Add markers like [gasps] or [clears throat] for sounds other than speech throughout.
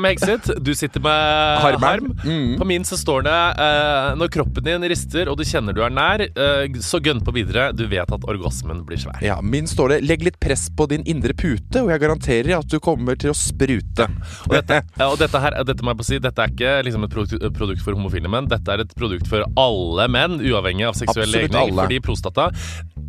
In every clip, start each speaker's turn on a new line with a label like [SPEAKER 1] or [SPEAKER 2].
[SPEAKER 1] med Exit, du sitter med
[SPEAKER 2] Harm.
[SPEAKER 1] harm.
[SPEAKER 2] Mm.
[SPEAKER 1] På min så står det eh, når kroppen din rister og du kjenner du er nær, eh, så gønn på videre. Du vet at orgasmen blir svær.
[SPEAKER 2] Ja, min står det 'legg litt press på din indre pute', og jeg garanterer at du kommer til å sprute.
[SPEAKER 1] Og
[SPEAKER 2] [laughs]
[SPEAKER 1] dette, ja, og dette her, dette må jeg bare si, dette er ikke liksom et produkt, et produkt for homofile menn. Dette er et produkt for alle menn, uavhengig av seksuell
[SPEAKER 2] Absolutt
[SPEAKER 1] legning.
[SPEAKER 2] alle.
[SPEAKER 1] Fordi prostata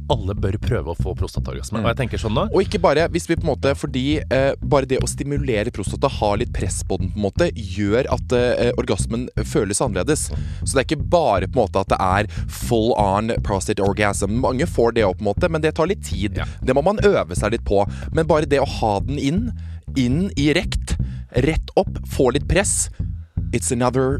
[SPEAKER 1] Alle bør prøve å få prostataorgasme. Og jeg tenker sånn nå
[SPEAKER 2] Og ikke bare hvis vi på en måte Fordi eh, bare det å stimulere prostata Har litt press på den på en måte Gjør at eh, orgasmen føles annerledes Så det er ikke bare på en måte at det er Full on prostate orgasm Mange får det også på en måte Men det tar litt tid
[SPEAKER 1] Ja.
[SPEAKER 2] Det må man øve seg litt på Men bare det å ha den inn Inn i rekt Rett opp Få litt press It's another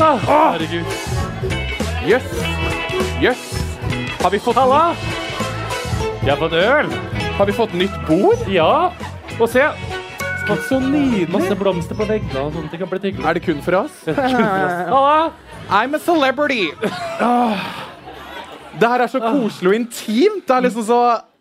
[SPEAKER 1] Herregud. Jøss. Jøss. Har vi fått Halla! Jeg har fått øl. Har vi fått nytt bord? Ja. Og se. Så nydelig. Masse blomster på veggene og sånt. Det kan bli hyggelig.
[SPEAKER 3] Er det kun for oss?
[SPEAKER 1] Halla!
[SPEAKER 3] I'm a celebrity! Ah. Det her er så koselig og intimt. Det er liksom så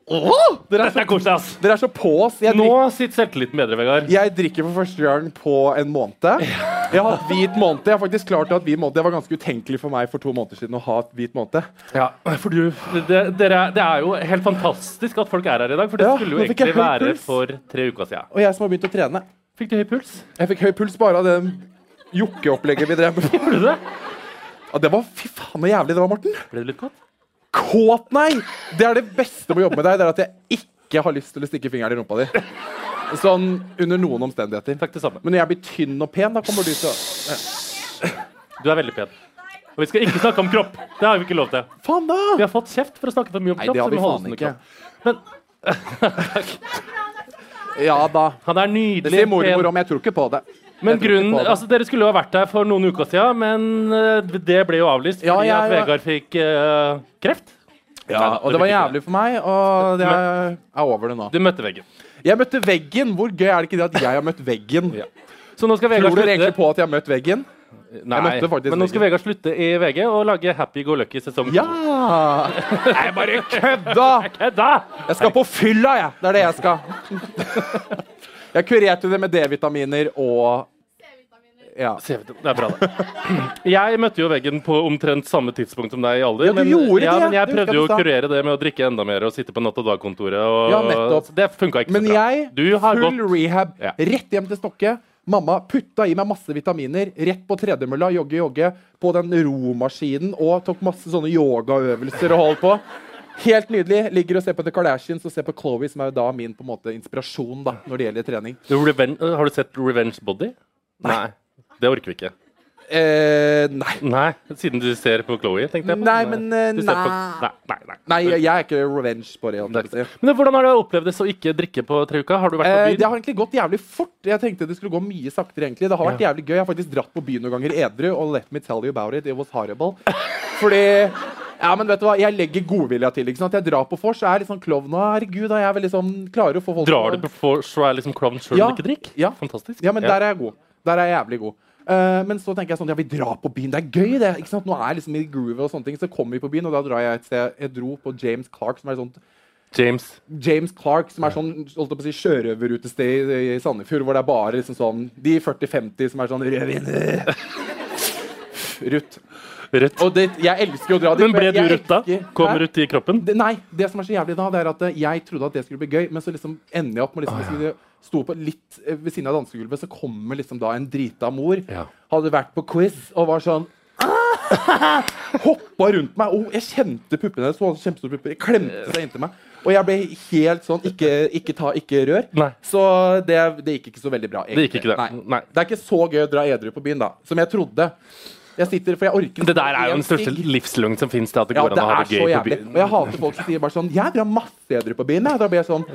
[SPEAKER 3] Åh! Dere er
[SPEAKER 4] Dette
[SPEAKER 3] så,
[SPEAKER 4] er koselig, ass.
[SPEAKER 3] dere er så på oss. Jeg,
[SPEAKER 4] Nå
[SPEAKER 3] drik,
[SPEAKER 4] sitter selvtilliten bedre, Vegard.
[SPEAKER 3] jeg drikker for første gang på en måned. Jeg har hatt hvit måned. Jeg har faktisk klart å ha hvit måned. Det var ganske utenkelig for meg for to måneder siden å ha hvit måned.
[SPEAKER 4] Ja, for du, det, dere, er- det er jo helt fantastisk at folk er her i dag, for det
[SPEAKER 3] Ja,
[SPEAKER 4] skulle jo
[SPEAKER 3] nå fikk jeg
[SPEAKER 4] egentlig
[SPEAKER 3] høy
[SPEAKER 4] være
[SPEAKER 3] puls.
[SPEAKER 4] for tre uker siden.
[SPEAKER 3] Og jeg som har begynt å trene.
[SPEAKER 4] Fikk du høy puls?
[SPEAKER 3] Jeg fikk høy puls bare av det jokkeopplegget vi drev med.
[SPEAKER 4] Gjorde du det?
[SPEAKER 3] Ja, Det var fy faen så jævlig det var, Morten.
[SPEAKER 4] Ble det litt godt?
[SPEAKER 3] Kåt, nei! Det er det beste med å jobbe med deg, det er at jeg ikke har lyst til å stikke fingeren i rumpa di. Sånn under noen omstendigheter.
[SPEAKER 4] Takk det samme.
[SPEAKER 3] Men når jeg blir tynn og pen, da kommer du til å
[SPEAKER 4] Du er veldig pen. Og vi skal ikke snakke om kropp. Det har vi ikke lov til.
[SPEAKER 3] Faen, da!
[SPEAKER 4] Vi har fått kjeft for å snakke for mye om
[SPEAKER 3] Nei, det
[SPEAKER 4] kropp.
[SPEAKER 3] har
[SPEAKER 4] så
[SPEAKER 3] vi
[SPEAKER 4] må holde
[SPEAKER 3] faen
[SPEAKER 4] oss
[SPEAKER 3] ikke.
[SPEAKER 4] under kropp.
[SPEAKER 3] [laughs] Ja da.
[SPEAKER 4] Han er
[SPEAKER 3] Det
[SPEAKER 4] nydelig
[SPEAKER 3] sier mormor om. Jeg tror ikke på det.
[SPEAKER 4] Men
[SPEAKER 3] Jeg tror ikke
[SPEAKER 4] grunnen,
[SPEAKER 3] på det.
[SPEAKER 4] altså Dere skulle jo ha vært her for noen uker siden, men eh, det ble jo avlyst
[SPEAKER 3] Ja,
[SPEAKER 4] fordi
[SPEAKER 3] ja,
[SPEAKER 4] at
[SPEAKER 3] ja.
[SPEAKER 4] Vegard fikk eh, kreft.
[SPEAKER 3] ja, Og det var jævlig for meg, og det er,
[SPEAKER 4] Men-
[SPEAKER 3] er over det nå.
[SPEAKER 4] Du møtte veggen.
[SPEAKER 3] Jeg møtte veggen! Hvor gøy er det ikke det at jeg har møtt veggen?
[SPEAKER 4] Ja. Så nå skal Vegard
[SPEAKER 3] Tror dere
[SPEAKER 4] slutte
[SPEAKER 3] egentlig på at jeg har møtt veggen?
[SPEAKER 4] Nei,
[SPEAKER 3] Jeg møtte faktisk
[SPEAKER 4] men nå skal
[SPEAKER 3] Vegard.
[SPEAKER 4] Vegard slutte i VG og lage Happy Go Lucky sesong
[SPEAKER 3] Ja!
[SPEAKER 4] to.
[SPEAKER 3] Jeg bare kødda!
[SPEAKER 4] Eh, Da!
[SPEAKER 3] Jeg skal på fylla, jeg! Det er det jeg
[SPEAKER 2] [laughs]
[SPEAKER 3] skal. Jeg kurerte det med D-vitaminer og
[SPEAKER 2] Ja.
[SPEAKER 5] CV-en. Det er
[SPEAKER 4] [clears throat]
[SPEAKER 5] bra, det. Jeg møtte jo veggen på omtrent samme tidspunkt som deg i alder.
[SPEAKER 2] Ja, du gjorde
[SPEAKER 5] ja,
[SPEAKER 2] det,
[SPEAKER 5] men jeg
[SPEAKER 2] det husker
[SPEAKER 5] prøvde
[SPEAKER 2] jeg
[SPEAKER 5] jo
[SPEAKER 2] du
[SPEAKER 5] å
[SPEAKER 2] sa.
[SPEAKER 5] kurere det med å drikke enda mer og sitte på natt- og dagkontoret. Og
[SPEAKER 2] Ja, nettopp.
[SPEAKER 5] Det funka ikke
[SPEAKER 2] Men
[SPEAKER 5] så bra.
[SPEAKER 2] jeg,
[SPEAKER 5] Du har
[SPEAKER 2] full
[SPEAKER 5] gått
[SPEAKER 2] rehab,
[SPEAKER 5] Ja.
[SPEAKER 2] rett hjem til Stokke. Mamma putta i meg masse vitaminer, rett på tredemølla, jogge, jogge, på den romaskinen og tok masse sånne yogaøvelser og holdt på. Helt nydelig. Ligger og ser på The Kardashians og ser på Chloé, som er jo da min på en måte inspirasjon da, når det gjelder trening.
[SPEAKER 5] Reven øh, Har du sett Revenge Body? Nei. Det orker vi ikke.
[SPEAKER 2] Eh, nei.
[SPEAKER 5] Nei, Siden du ser på Chloé, tenkte jeg. på.
[SPEAKER 2] Nei, men, eh,
[SPEAKER 5] Du ser på-
[SPEAKER 2] nei.
[SPEAKER 5] nei, nei, nei.
[SPEAKER 2] Nei, jeg er ikke revenge på det. holdt
[SPEAKER 5] Det
[SPEAKER 2] jeg
[SPEAKER 5] er
[SPEAKER 2] på å si.
[SPEAKER 5] ikke- Men hvordan har du opplevd det å ikke drikke på tre uker? Har du vært
[SPEAKER 2] Eh,
[SPEAKER 5] på
[SPEAKER 2] det
[SPEAKER 5] byen?
[SPEAKER 2] har egentlig gått jævlig fort. Jeg tenkte det skulle gå mye saktere. egentlig Det har vært jævlig gøy. Jeg har faktisk dratt på byen noen ganger edru, og let me tell you about it, it was horrible. Fordi ja, men vet du hva, Jeg legger godvilja til. ikke sant? Jeg drar på vors, jeg er litt sånn klovn. og Herregud, da, jeg er vel liksom klarer å få folk
[SPEAKER 5] Drar du på vors og er liksom klovn sjøl
[SPEAKER 2] Ja,
[SPEAKER 5] og ikke drikk?
[SPEAKER 2] ja.
[SPEAKER 5] Fantastisk.
[SPEAKER 2] Ja, men der er jeg god. Der er jeg jævlig god. Eh, men så tenker jeg sånn, ja, vi drar på byen. Det er gøy, det. ikke sant? Nå er jeg liksom i groove og sånne ting. Så kommer vi på byen, og da drar jeg et sted. Jeg dro på James Clark, som er et sånt
[SPEAKER 5] James.
[SPEAKER 2] James Clark, som er sånn holdt jeg på å si, sjørøverutested i, i Sandefjord, hvor det er bare liksom sånn De 40-50 som er sånn rødvin [laughs] øh, Rutt.
[SPEAKER 5] Rødt.
[SPEAKER 2] Og det, jeg elsker jo å dra dit.
[SPEAKER 5] Men ble
[SPEAKER 2] for
[SPEAKER 5] du
[SPEAKER 2] jeg
[SPEAKER 5] rødt da?
[SPEAKER 2] elsker-
[SPEAKER 5] Kom
[SPEAKER 2] Hæ?
[SPEAKER 5] rødt i kroppen?
[SPEAKER 2] Det, nei. Det som er så jævlig da, det er at eh, jeg trodde at det skulle bli gøy, men så liksom ender jeg opp med liksom, liksom de Sto på litt eh, ved siden av dansegulvet, så kommer liksom da en drita mor.
[SPEAKER 5] Ja.
[SPEAKER 2] Hadde vært på quiz og var sånn «Ah!» Hoppa rundt meg. Og jeg kjente puppene hennes. Hun hadde kjempestore pupper. Jeg klemte seg inntil meg. Og jeg ble helt sånn Ikke, ikke ta, ikke rør.
[SPEAKER 5] Nei.
[SPEAKER 2] Så det, det gikk ikke så veldig bra.
[SPEAKER 5] Det gikk ikke det.
[SPEAKER 2] Nei.
[SPEAKER 5] Nei.
[SPEAKER 2] det er ikke så gøy å dra edru på byen, da. Som jeg trodde. Jeg sitter, for jeg orker
[SPEAKER 5] Det der er jo
[SPEAKER 2] en
[SPEAKER 5] den største
[SPEAKER 2] sigg.
[SPEAKER 5] livsløgnen som fins. At det
[SPEAKER 2] Ja,
[SPEAKER 5] går
[SPEAKER 2] det
[SPEAKER 5] an å ha
[SPEAKER 2] er
[SPEAKER 5] det
[SPEAKER 2] så
[SPEAKER 5] gøy på
[SPEAKER 2] jævlig.
[SPEAKER 5] byen.
[SPEAKER 2] Og jeg hater folk som sier bare sånn Jeg drar masse edru på byen. Jeg. Da blir jeg sånn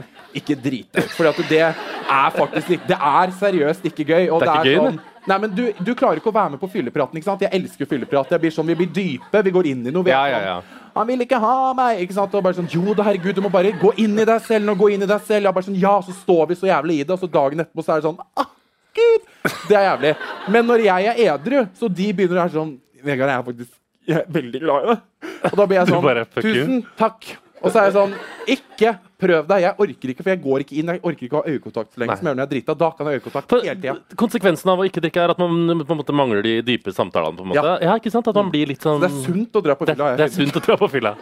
[SPEAKER 2] Ikke drit deg ut. For det er faktisk ikke Det er seriøst ikke gøy. Og
[SPEAKER 5] Det
[SPEAKER 2] det
[SPEAKER 5] er
[SPEAKER 2] er,
[SPEAKER 5] ikke gøy,
[SPEAKER 2] sånn Nei, men du, du klarer ikke å være med på fyllepraten. ikke sant? Jeg elsker fylleprat. Jeg blir sånn, Vi blir dype, vi går inn i noe. Vi er
[SPEAKER 5] Ja, ja, ja.
[SPEAKER 2] Sånn, han vil ikke ha meg! ikke sant? Og bare sånn, Jo da, herregud, du må bare gå inn i deg selv nå! gå inn i deg selv. Og bare sånn, Ja, så står vi så jævlig i det, og så dagen etterpå så er det sånn ah, Gud! Det er jævlig. Men når jeg er edru, så de begynner å være sånn Vegard, jeg er faktisk jeg er veldig glad i deg. Og da blir jeg
[SPEAKER 5] Du
[SPEAKER 2] sånn
[SPEAKER 5] bare, fuck you.
[SPEAKER 2] Tusen takk. Og så er jeg sånn Ikke prøv deg. Jeg orker ikke, for jeg går ikke inn. Jeg orker ikke å ha øyekontakt så lenge som jeg gjør når jeg er drita. Da kan jeg ha øyekontakt hele tida.
[SPEAKER 5] For Konsekvensen av å ikke drikke er at man på en måte mangler de dype samtalene. på en måte.
[SPEAKER 2] Ja. Mm.
[SPEAKER 5] Ja, ikke sant? At man blir litt sånn...
[SPEAKER 2] Det er sunt å dra på
[SPEAKER 5] Det,
[SPEAKER 2] fylla.
[SPEAKER 5] det er sunt å dra på fylla.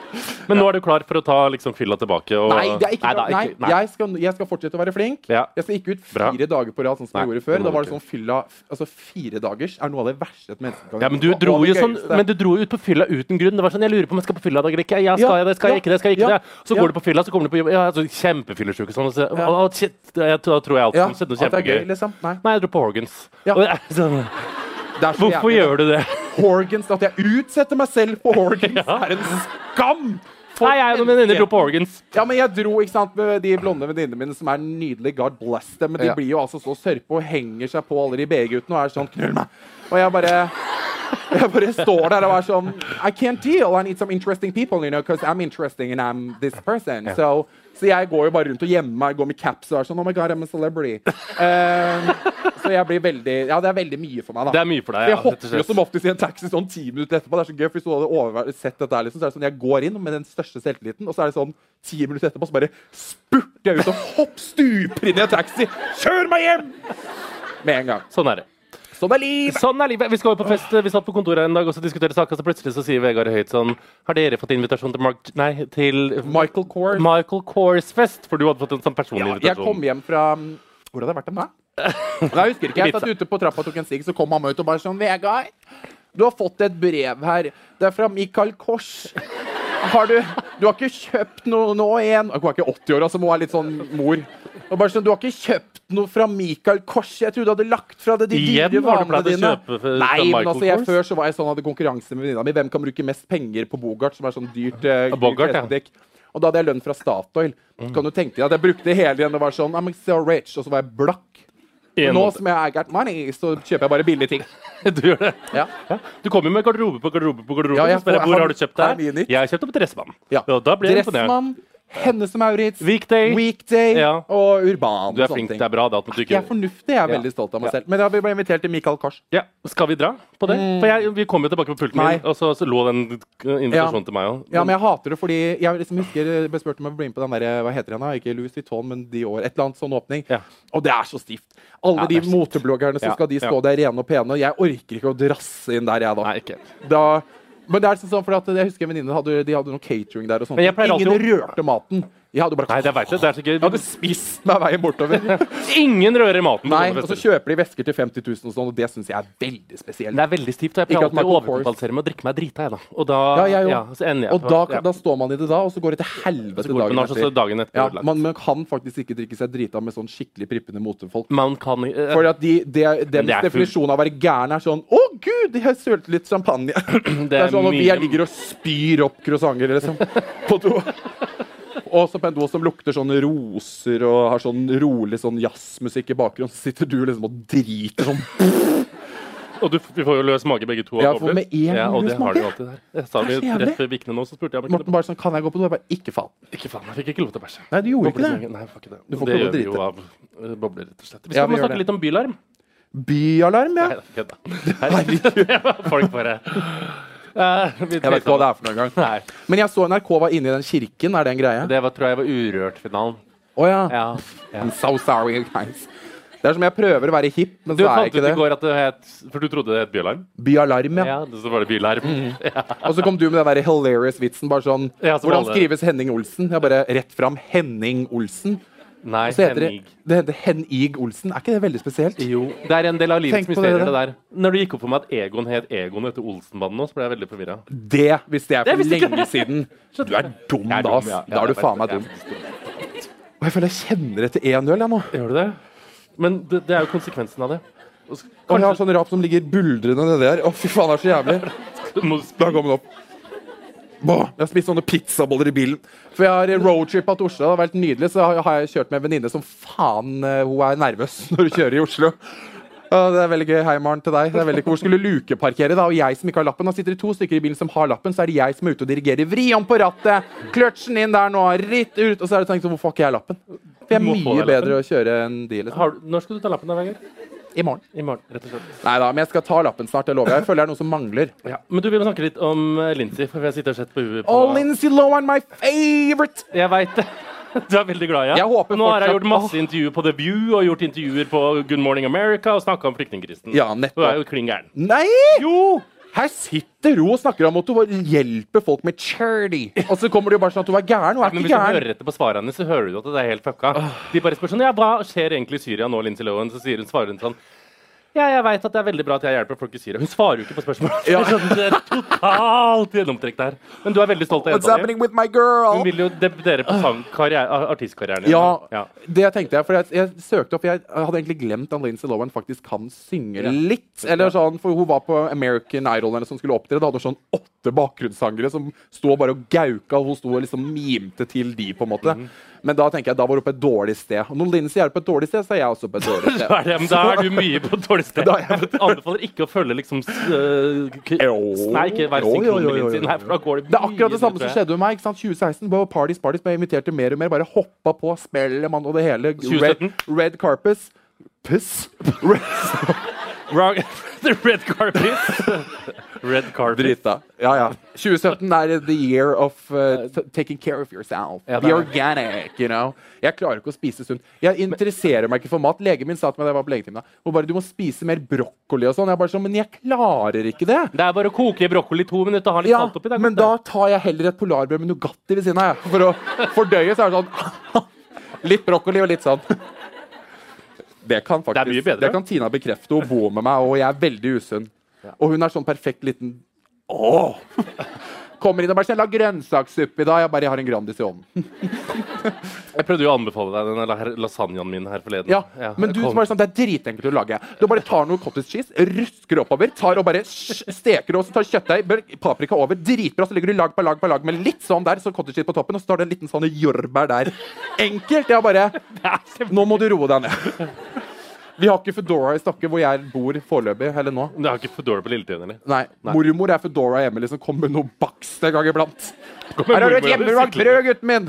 [SPEAKER 5] Men nå er du klar for å ta liksom, fylla tilbake? Og...
[SPEAKER 2] Nei, det er ikke,
[SPEAKER 5] Nei, da,
[SPEAKER 2] nei,
[SPEAKER 5] ikke- nei.
[SPEAKER 2] Jeg, skal, jeg skal fortsette å være flink.
[SPEAKER 5] Ja.
[SPEAKER 2] Jeg skal ikke ut
[SPEAKER 5] Bra.
[SPEAKER 2] fire dager på rad, sånn som
[SPEAKER 5] Nei,
[SPEAKER 2] jeg gjorde
[SPEAKER 5] det må
[SPEAKER 2] før. Da
[SPEAKER 5] du
[SPEAKER 2] var det
[SPEAKER 5] ikke.
[SPEAKER 2] sånn fylla Altså, fire dagers er noe av det verste et menneske kan
[SPEAKER 5] Ja, men du,
[SPEAKER 2] gjøre, og
[SPEAKER 5] dro
[SPEAKER 2] det
[SPEAKER 5] jo sånn,
[SPEAKER 2] gøyeste.
[SPEAKER 5] men du dro jo ut på fylla uten grunn. Det var sånn, jeg lurer på om jeg skal på fylla i dag eller ikke. Ja, skal
[SPEAKER 2] Ja,
[SPEAKER 5] jeg det? Skal
[SPEAKER 2] ja,
[SPEAKER 5] jeg ikke det? Skal jeg ikke
[SPEAKER 2] ja,
[SPEAKER 5] det? Så
[SPEAKER 2] ja.
[SPEAKER 5] går du på fylla, så kommer du på jobb. Ja, så kjempefyllesyk og sånn. Og så, å, shit, jeg, da tror jeg alt
[SPEAKER 2] ja,
[SPEAKER 5] som skjedde noe
[SPEAKER 2] at det er
[SPEAKER 5] kjempegøy.
[SPEAKER 2] gøy, liksom. Nei.
[SPEAKER 5] Nei, jeg dro på Horgans.
[SPEAKER 2] Ja.
[SPEAKER 5] Og det er
[SPEAKER 2] [laughs]
[SPEAKER 5] sånn,
[SPEAKER 2] Det er så
[SPEAKER 5] hvorfor
[SPEAKER 2] jævlig.
[SPEAKER 5] gjør du det?
[SPEAKER 2] Horgans, at jeg utsetter meg selv på
[SPEAKER 5] [laughs]
[SPEAKER 2] Horgans, er en skam! For
[SPEAKER 5] Nei, jeg og noen venninner dro på Horgans.
[SPEAKER 2] Ja, men jeg dro ikke sant, med de blonde venninnene mine som er nydelige. God bless dem. Men de
[SPEAKER 6] Ja.
[SPEAKER 2] blir jo altså så sørpe og henger seg på alle de BG-guttene og er sånn Knull meg! Og jeg bare jeg bare står der og er sånn I can't deal. I need some interesting people, you know, because I'm interesting and I'm this person. So, så jeg går jo bare rundt og gjemmer meg, går med caps og er sånn Oh my God, I'm a celebrity. Eh, så jeg blir veldig Ja, det er veldig mye for meg, da.
[SPEAKER 5] Det er mye for
[SPEAKER 2] For
[SPEAKER 5] deg,
[SPEAKER 2] jeg
[SPEAKER 5] ja, rett og
[SPEAKER 2] hopper jo
[SPEAKER 5] slett.
[SPEAKER 2] som oftest i en taxi sånn ti minutter etterpå. Det er så gøy, for hvis du hadde overvær- sett dette her, liksom, så er det sånn, jeg går inn med den største selvtilliten, og så er det sånn ti minutter etterpå, så bare spurter jeg ut og hopp, stuper inn i en taxi. Kjør meg hjem! Med en gang.
[SPEAKER 5] Sånn er det.
[SPEAKER 2] Sånn er livet!
[SPEAKER 5] Sånn er livet. Vi skal jo på fest. Vi satt på kontoret en dag og så diskuterte saker, så plutselig så sier Vegard høyt sånn Har dere fått invitasjon til Mark Nei, til
[SPEAKER 2] Michael Kors.
[SPEAKER 5] Michael Kors-fest? For du hadde fått en sånn personlig
[SPEAKER 2] Jeg
[SPEAKER 5] invitasjon.
[SPEAKER 2] kom hjem fra mm, Hvor hadde jeg vært
[SPEAKER 5] [laughs]
[SPEAKER 2] den da? Nei, jeg husker ikke. Jeg satt ute på trappa og tok en sigg, så kom mamma ut og bare sånn Vegard, du har fått et brev her. Det er fra Michael Kors. Har du Du har ikke kjøpt noe nå igjen? Hun er ikke 80 år, altså. Hun er litt sånn mor. Og bare sånn, Du har ikke kjøpt noe fra Michael Kors? Jeg trodde du hadde lagt fra deg de
[SPEAKER 5] Igjen?
[SPEAKER 2] dyre
[SPEAKER 5] Har
[SPEAKER 2] vanene
[SPEAKER 5] du pleid å
[SPEAKER 2] dine.
[SPEAKER 5] kjøpe fra-
[SPEAKER 2] Nei,
[SPEAKER 5] fra
[SPEAKER 2] men
[SPEAKER 5] Michael
[SPEAKER 2] altså, jeg,
[SPEAKER 5] Kors?
[SPEAKER 2] før så var jeg sånn hadde konkurranse med venninna mi. Hvem kan bruke mest penger på Bogart, som er sånn dyrt eh,
[SPEAKER 5] Bogart, ja. Mm.
[SPEAKER 2] klesbutikk? Og da hadde jeg lønn fra Statoil. Kan du tenke deg at jeg brukte hele den og var sånn I'm so rich, og så var jeg blakk.
[SPEAKER 5] En
[SPEAKER 2] Nå
[SPEAKER 5] måned.
[SPEAKER 2] som jeg I got money, så kjøper jeg bare billige ting.
[SPEAKER 5] [laughs] Du gjør det.
[SPEAKER 2] Ja.
[SPEAKER 5] Du kommer med garderobe på garderobe på garderobe.
[SPEAKER 2] Ja, jeg
[SPEAKER 5] og spør jeg,
[SPEAKER 2] får-
[SPEAKER 5] hvor
[SPEAKER 2] har-
[SPEAKER 5] har du kjøpt det
[SPEAKER 2] har mye
[SPEAKER 5] her?
[SPEAKER 2] nytt.
[SPEAKER 5] Jeg har kjøpt det på Dressmann.
[SPEAKER 2] Ja.
[SPEAKER 5] Og da ble jeg imponert.
[SPEAKER 2] Dressmann, Hennes og Maurits,
[SPEAKER 5] Weekday.
[SPEAKER 2] Weekday
[SPEAKER 5] Ja.
[SPEAKER 2] og Urban.
[SPEAKER 5] Du er
[SPEAKER 2] sånne
[SPEAKER 5] flink,
[SPEAKER 2] ting.
[SPEAKER 5] det er bra. Det at du
[SPEAKER 2] Jeg er
[SPEAKER 5] ikke...
[SPEAKER 2] fornuftig. Jeg er
[SPEAKER 5] Ja.
[SPEAKER 2] veldig stolt av meg
[SPEAKER 5] Ja.
[SPEAKER 2] selv. Men da vi ble invitert til Michael Kors.
[SPEAKER 5] ja. Skal vi dra på det? For jeg, vi kom jo tilbake på pulten
[SPEAKER 2] Nei.
[SPEAKER 5] min, og så, så lå den
[SPEAKER 2] Ja.
[SPEAKER 5] invitasjonen til meg òg.
[SPEAKER 2] Ja, men jeg hater det fordi Jeg liksom husker jeg ble spurt om jeg ble med på den der, hva heter den da? Ikke Louis Vuitton, men Dior. Et eller annet sånn åpning.
[SPEAKER 5] Ja.
[SPEAKER 2] Og det er så stivt. Alle
[SPEAKER 5] Ja, det er
[SPEAKER 2] de
[SPEAKER 5] stivt.
[SPEAKER 2] motebloggerne som
[SPEAKER 5] Ja,
[SPEAKER 2] skal de stå
[SPEAKER 5] ja.
[SPEAKER 2] der rene og pene. Jeg orker ikke å drasse inn der, jeg, da.
[SPEAKER 5] Nei, ikke.
[SPEAKER 2] da men det er sånn sånn, for at jeg husker en venninne hadde, de hadde noe catering der. og sånt.
[SPEAKER 5] Men jeg pleier
[SPEAKER 2] Ingen
[SPEAKER 5] alltid
[SPEAKER 2] rørte maten. Jeg hadde bare
[SPEAKER 5] Nei, det veit jeg. Det er så gøy.
[SPEAKER 2] Jeg hadde spist meg veien bortover.
[SPEAKER 5] [laughs] Ingen rører maten. på
[SPEAKER 2] Nei,
[SPEAKER 5] sånne
[SPEAKER 2] Og så
[SPEAKER 5] fester.
[SPEAKER 2] kjøper de væsker til 50 000 og sånn, og det syns jeg er veldig spesielt.
[SPEAKER 5] Det er veldig stivt. og Jeg
[SPEAKER 2] Ikke
[SPEAKER 5] pleier
[SPEAKER 2] at
[SPEAKER 5] alltid å
[SPEAKER 2] Michael Kors-
[SPEAKER 5] overkompensere med å drikke meg drita, jeg, da. Og da,
[SPEAKER 2] Ja, jeg jo.
[SPEAKER 5] så ender jeg
[SPEAKER 2] og
[SPEAKER 5] på-
[SPEAKER 2] da,
[SPEAKER 5] ja.
[SPEAKER 2] da står man i det da, og så går det til helvete
[SPEAKER 5] Så går det på
[SPEAKER 2] dagen
[SPEAKER 5] nach, og så
[SPEAKER 2] etter.
[SPEAKER 5] dagen etter.
[SPEAKER 2] Ja,
[SPEAKER 5] ødelagt.
[SPEAKER 2] man, man kan faktisk ikke drikke seg drita med sånn skikkelig prippende motefolk.
[SPEAKER 5] Man kan ikke
[SPEAKER 2] For at de, de, deres
[SPEAKER 5] det er fullt.
[SPEAKER 2] definisjon av å være gæren er sånn Å, gud, jeg sølte litt champagne. [clears throat] Det er, sånn at vi
[SPEAKER 5] mye-
[SPEAKER 2] her ligger og spyr opp croissanter liksom, på [laughs] do. Og så på en do som lukter sånn roser og har sånn rolig sånn jazzmusikk i bakgrunnen, så sitter du liksom og driter [laughs] sånn.
[SPEAKER 5] Og du, vi får jo løs mage begge to. av
[SPEAKER 2] Ja, for
[SPEAKER 5] kobler.
[SPEAKER 2] med en gang
[SPEAKER 5] ja, og
[SPEAKER 2] løs
[SPEAKER 5] det har du
[SPEAKER 2] mage.
[SPEAKER 5] alltid der. Jeg sa det
[SPEAKER 2] Det er så
[SPEAKER 5] rett
[SPEAKER 2] jævlig.
[SPEAKER 5] før vikene nå, så spurte jeg om jeg
[SPEAKER 2] Morten
[SPEAKER 5] kunne
[SPEAKER 2] bare sånn Kan jeg gå på do? Jeg bare Ikke faen.
[SPEAKER 5] Ikke faen, jeg fikk ikke lov til å bæsje.
[SPEAKER 2] Nei, du gjorde ikke det.
[SPEAKER 5] Boblegangen- Nei, fuck it, det.
[SPEAKER 2] Du får
[SPEAKER 5] det
[SPEAKER 2] ikke
[SPEAKER 5] gjør
[SPEAKER 2] lov til
[SPEAKER 5] vi
[SPEAKER 2] å
[SPEAKER 5] jo av eh, bobler, rett og slett. Vi
[SPEAKER 2] Ja,
[SPEAKER 5] skal
[SPEAKER 2] vi
[SPEAKER 5] må
[SPEAKER 2] gjør
[SPEAKER 5] snakke
[SPEAKER 2] det.
[SPEAKER 5] litt om bylarm.
[SPEAKER 2] Byalarm, ja.
[SPEAKER 5] Nei,
[SPEAKER 2] [laughs]
[SPEAKER 5] det er [laughs] kødd, da. Herregud. Folk bare
[SPEAKER 2] Jeg vet ikke hva det er for noe engang.
[SPEAKER 5] Nei,
[SPEAKER 2] Men jeg så NRK var inne i den kirken. Er det en greie?
[SPEAKER 5] det var, tror jeg var Urørt-finalen.
[SPEAKER 2] Å ja.
[SPEAKER 5] Ja. ja.
[SPEAKER 2] I'm so sorry, guys. Det er som jeg prøver å være hipp, men
[SPEAKER 5] Du
[SPEAKER 2] så er jeg
[SPEAKER 5] fant
[SPEAKER 2] ikke
[SPEAKER 5] ut i
[SPEAKER 2] det.
[SPEAKER 5] går at det het For du trodde det het Bylarm?
[SPEAKER 2] Byalarm, ja. Mm.
[SPEAKER 5] Ja, så var det Bylarm. Ja.
[SPEAKER 2] Og så kom du med den der hilarious vitsen. bare sånn,
[SPEAKER 5] Ja, som
[SPEAKER 2] Hvordan
[SPEAKER 5] alle-
[SPEAKER 2] skrives Henning Olsen? Jeg bare Rett fram Henning Olsen.
[SPEAKER 5] Nei,
[SPEAKER 2] Så heter
[SPEAKER 5] Henning.
[SPEAKER 2] det det heter Henig Olsen. Er ikke det veldig spesielt?
[SPEAKER 5] Jo, det er en del av livets
[SPEAKER 2] Tenk på det,
[SPEAKER 5] mysterier, det
[SPEAKER 2] dere.
[SPEAKER 5] der. Når det gikk opp for meg at Egon het Egon etter Olsenbanden nå, så ble jeg veldig forvirra.
[SPEAKER 2] Det visste jeg
[SPEAKER 5] Det
[SPEAKER 2] for
[SPEAKER 5] visste ikke
[SPEAKER 2] lenge
[SPEAKER 5] jeg. [laughs]
[SPEAKER 2] siden. Du er dum, da. ass. Da er du faen meg dum. Og jeg føler jeg kjenner etter 1-0 jeg nå.
[SPEAKER 5] Gjør du det? Men det, det er jo konsekvensen av det. Og så-
[SPEAKER 2] Og jeg har
[SPEAKER 5] Kanskje
[SPEAKER 2] sånn rap som ligger buldrende nedi her. Å, fy faen, det er så jævlig.
[SPEAKER 5] du må
[SPEAKER 2] Da kom den opp. Bah, jeg har spist sånne pizzaboller i bilen. For jeg har roadtripa til Oslo. Det har vært nydelig, så har- har jeg kjørt med en venninne som faen eh, Hun er nervøs [laughs] når hun kjører i Oslo. Ja, det er veldig gøy. Hei, Maren, til deg. Det er veldig Hvor skulle Luke parkere, da? Og jeg som ikke har lappen. Da sitter det to stykker i bilen som har lappen, så er det jeg som er ute og dirigerer. Vri om på rattet! Kløtsjen inn der nå, ritt ut! Og så er det tenkt sånn, hvorfor har ikke jeg lappen? For jeg er
[SPEAKER 5] Du må få
[SPEAKER 2] mye
[SPEAKER 5] deg lappen.
[SPEAKER 2] bedre å kjøre enn de, liksom.
[SPEAKER 5] Har du, når skal du ta lappen da, Vegard?
[SPEAKER 2] I morgen.
[SPEAKER 5] I morgen, rett og slett.
[SPEAKER 2] Nei da, men jeg skal ta lappen snart, det lover jeg. Jeg føler det er noe som mangler.
[SPEAKER 5] Ja. Men du, vi må snakke litt om eh, Lindsay, for jeg sitter og sett på huet på
[SPEAKER 2] Oh, Lindsay Lohan, my favorite!
[SPEAKER 5] Jeg veit det. [laughs] Du er veldig glad i
[SPEAKER 2] Jeg håper
[SPEAKER 5] Nå har jeg
[SPEAKER 2] fortsatt-
[SPEAKER 5] gjort masse intervjuer på The View og gjort intervjuer på Good Morning America og snakka om flyktningkrisen.
[SPEAKER 2] Ja,
[SPEAKER 5] Hun er
[SPEAKER 2] nettopp.
[SPEAKER 5] jo klin gæren.
[SPEAKER 2] Nei!
[SPEAKER 5] Jo!
[SPEAKER 2] Her sitter hun og snakker om at hun hjelper folk med charity. Og så kommer det jo bare sånn at hun er gæren. Hun er
[SPEAKER 5] Men
[SPEAKER 2] ikke
[SPEAKER 5] hvis du
[SPEAKER 2] gæren.
[SPEAKER 5] hører etter på svarene hennes, så hører du at det er helt fucka. De bare spør sånn Ja, hva skjer egentlig i Syria nå, Lindsay Lohan? Så sier hun, svarer hun sånn ja, jeg veit at det er veldig bra at jeg hjelper folk i Syria. Hun svarer jo ikke på
[SPEAKER 2] [laughs]
[SPEAKER 5] spørsmål. Det er sånn, det er totalt gjennomtrekk der. Men du er veldig stolt av
[SPEAKER 2] What's
[SPEAKER 5] jenta di.
[SPEAKER 2] happening with my girl?
[SPEAKER 5] Hun vil jo debutere på sang- karriere- artistkarrieren. din.
[SPEAKER 2] Ja,
[SPEAKER 5] ja.
[SPEAKER 2] det tenkte jeg. For jeg, jeg søkte opp Jeg hadde egentlig glemt at Lindsay Lohan faktisk kan synge litt. Eller sånn, For hun var på American Idol eller som skulle opptre. Da hadde hun sånn åtte bakgrunnssangere som sto bare og gauka, og hun sto og liksom mimte til de, på en måte.
[SPEAKER 5] Mhm.
[SPEAKER 2] Men da tenker jeg, da var hun på et dårlig sted. Og når Lindsay er på et dårlig sted, så er jeg også på et
[SPEAKER 5] [laughs]
[SPEAKER 2] dårlig
[SPEAKER 5] Så
[SPEAKER 2] sted.
[SPEAKER 5] er det, men da er du mye på et dårlig sted.
[SPEAKER 2] Da er jeg på
[SPEAKER 5] Jeg anbefaler ikke å følge liksom s- øh, k-
[SPEAKER 2] Jo.
[SPEAKER 5] Nei, ikke være
[SPEAKER 2] Jo, jo,
[SPEAKER 5] synkron
[SPEAKER 2] jo,
[SPEAKER 5] med
[SPEAKER 2] jo,
[SPEAKER 5] Lindsay.
[SPEAKER 2] jo.
[SPEAKER 5] Nei, for da går det
[SPEAKER 2] Det er akkurat det samme
[SPEAKER 5] mye ned,
[SPEAKER 2] som
[SPEAKER 5] tror jeg.
[SPEAKER 2] skjedde med meg. ikke sant? 2016 bare parties, parties, ble jeg invitert til mer og mer. Bare hoppa på Spellemann og det hele. Red,
[SPEAKER 5] 2017?
[SPEAKER 2] red Carpus. Puss. Red,
[SPEAKER 5] Wrong. [laughs] The red carpet. [laughs] Red carpet.
[SPEAKER 2] drita. Ja, ja. 2017 er the year of uh, t- taking care of yourself.
[SPEAKER 5] Ja, det
[SPEAKER 2] Be
[SPEAKER 5] er
[SPEAKER 2] organic, you know. Jeg klarer ikke å spise sunt. Jeg interesserer meg ikke for mat. Legen min sa til meg da jeg var på legetimen, da, hun bare du må spise mer brokkoli og sånn. Jeg bare sånn, men jeg klarer ikke det.
[SPEAKER 5] Det er bare å koke brokkoli i to minutter og ha litt
[SPEAKER 2] Ja,
[SPEAKER 5] salt oppi. det er
[SPEAKER 2] men
[SPEAKER 5] godt,
[SPEAKER 2] da tar jeg heller et polarbrød med Nugatti ved siden av, jeg. For å fordøye, så er det sånn [laughs] Litt brokkoli og litt sånn. Det kan faktisk
[SPEAKER 5] Det er mye bedre.
[SPEAKER 2] kan Tina bekrefte. Hun bor med meg, og jeg er veldig usunn. Og hun er sånn perfekt liten Åh! [laughs] Kommer inn og bare 'Skal jeg lage grønnsakssuppe i dag?' Jeg bare 'Jeg har en Grandis i ovnen'.
[SPEAKER 5] det. Jeg prøvde jo å anbefale deg denne la- lasagnaen min her forleden.
[SPEAKER 2] Ja, men du
[SPEAKER 5] kom-
[SPEAKER 2] som er sånn, det er dritenkelt å lage. Du bare tar noe cottage cheese, rusker oppover, tar og bare sj- steker det, og så tar kjøttdeig, bør- paprika over, dritbra, så legger du lag på lag på lag med litt sånn der, så cottage cheese på toppen, og så tar du en liten sånn jordbær der. Enkelt. Jeg
[SPEAKER 5] [laughs]
[SPEAKER 2] bare Nå må du roe deg ned. Vi har ikke Foodora i Stokke, hvor jeg bor foreløpig. Eller nå.
[SPEAKER 5] Du har ikke fedora på lilletiden, eller?
[SPEAKER 2] Nei, Mormor er Foodora hjemme, liksom. Kom med noe bakst en gang iblant.
[SPEAKER 5] Kom med
[SPEAKER 2] Her har du
[SPEAKER 5] mormor,
[SPEAKER 2] et hjemmebakt
[SPEAKER 5] sikkert.
[SPEAKER 2] brød, gutten min!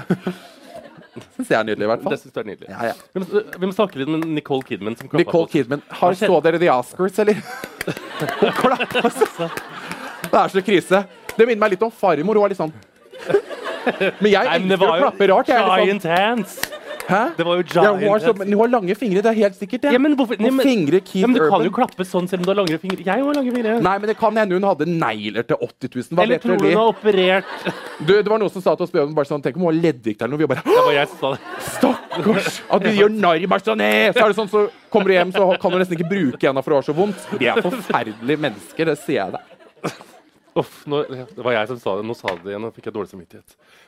[SPEAKER 2] [laughs] Syns jeg er nydelig, i hvert
[SPEAKER 5] Det
[SPEAKER 2] fall.
[SPEAKER 5] synes jeg er nydelig.
[SPEAKER 2] Ja, ja.
[SPEAKER 5] Vi, må, vi må snakke litt med Nicole Kidman. Som klappa
[SPEAKER 2] Nicole
[SPEAKER 5] på oss.
[SPEAKER 2] Kidman. Har så dere The Oscars, eller? Hun
[SPEAKER 5] [laughs]
[SPEAKER 2] klapper, altså. Det er så krise. Det minner meg litt om farmor. Hun er litt sånn Men jeg
[SPEAKER 5] Nei, men det
[SPEAKER 2] elsker å
[SPEAKER 5] var
[SPEAKER 2] klappe
[SPEAKER 5] jo
[SPEAKER 2] rart. Jeg er litt sånn,
[SPEAKER 5] giant hands!
[SPEAKER 2] Hæ?
[SPEAKER 5] Det var jo
[SPEAKER 2] Ja,
[SPEAKER 5] giant
[SPEAKER 2] hun, har så,
[SPEAKER 5] hands.
[SPEAKER 2] men hun har lange fingre, det er helt sikkert. det.
[SPEAKER 5] Ja, men hvorfor-
[SPEAKER 2] Og
[SPEAKER 5] Nei, men-
[SPEAKER 2] fingre Keith
[SPEAKER 5] Ja, men du kan
[SPEAKER 2] Urban.
[SPEAKER 5] jo klappe sånn selv om du har langere fingre. Jeg har lange fingre.
[SPEAKER 2] Nei, men det kan hende hun hadde negler til 80 000. Hva
[SPEAKER 5] Eller
[SPEAKER 2] vet du,
[SPEAKER 5] tror du
[SPEAKER 2] Li?
[SPEAKER 5] hun har operert
[SPEAKER 2] du, det var noen som sa til oss på jobben bare sånn Tenk om hun har leddgikt eller noe. Vi bare
[SPEAKER 5] Det var jeg som sa det.
[SPEAKER 2] Stakkars! At vi gjør narr bare sånn eh! Så er det sånn, så kommer du hjem, så kan du nesten ikke bruke henda, for det var så vondt. De er forferdelige mennesker, det sier jeg deg.
[SPEAKER 5] Uff, nå, ja, det var jeg som sa det. Nå sa du det igjen, nå fikk jeg dårlig samvittighet.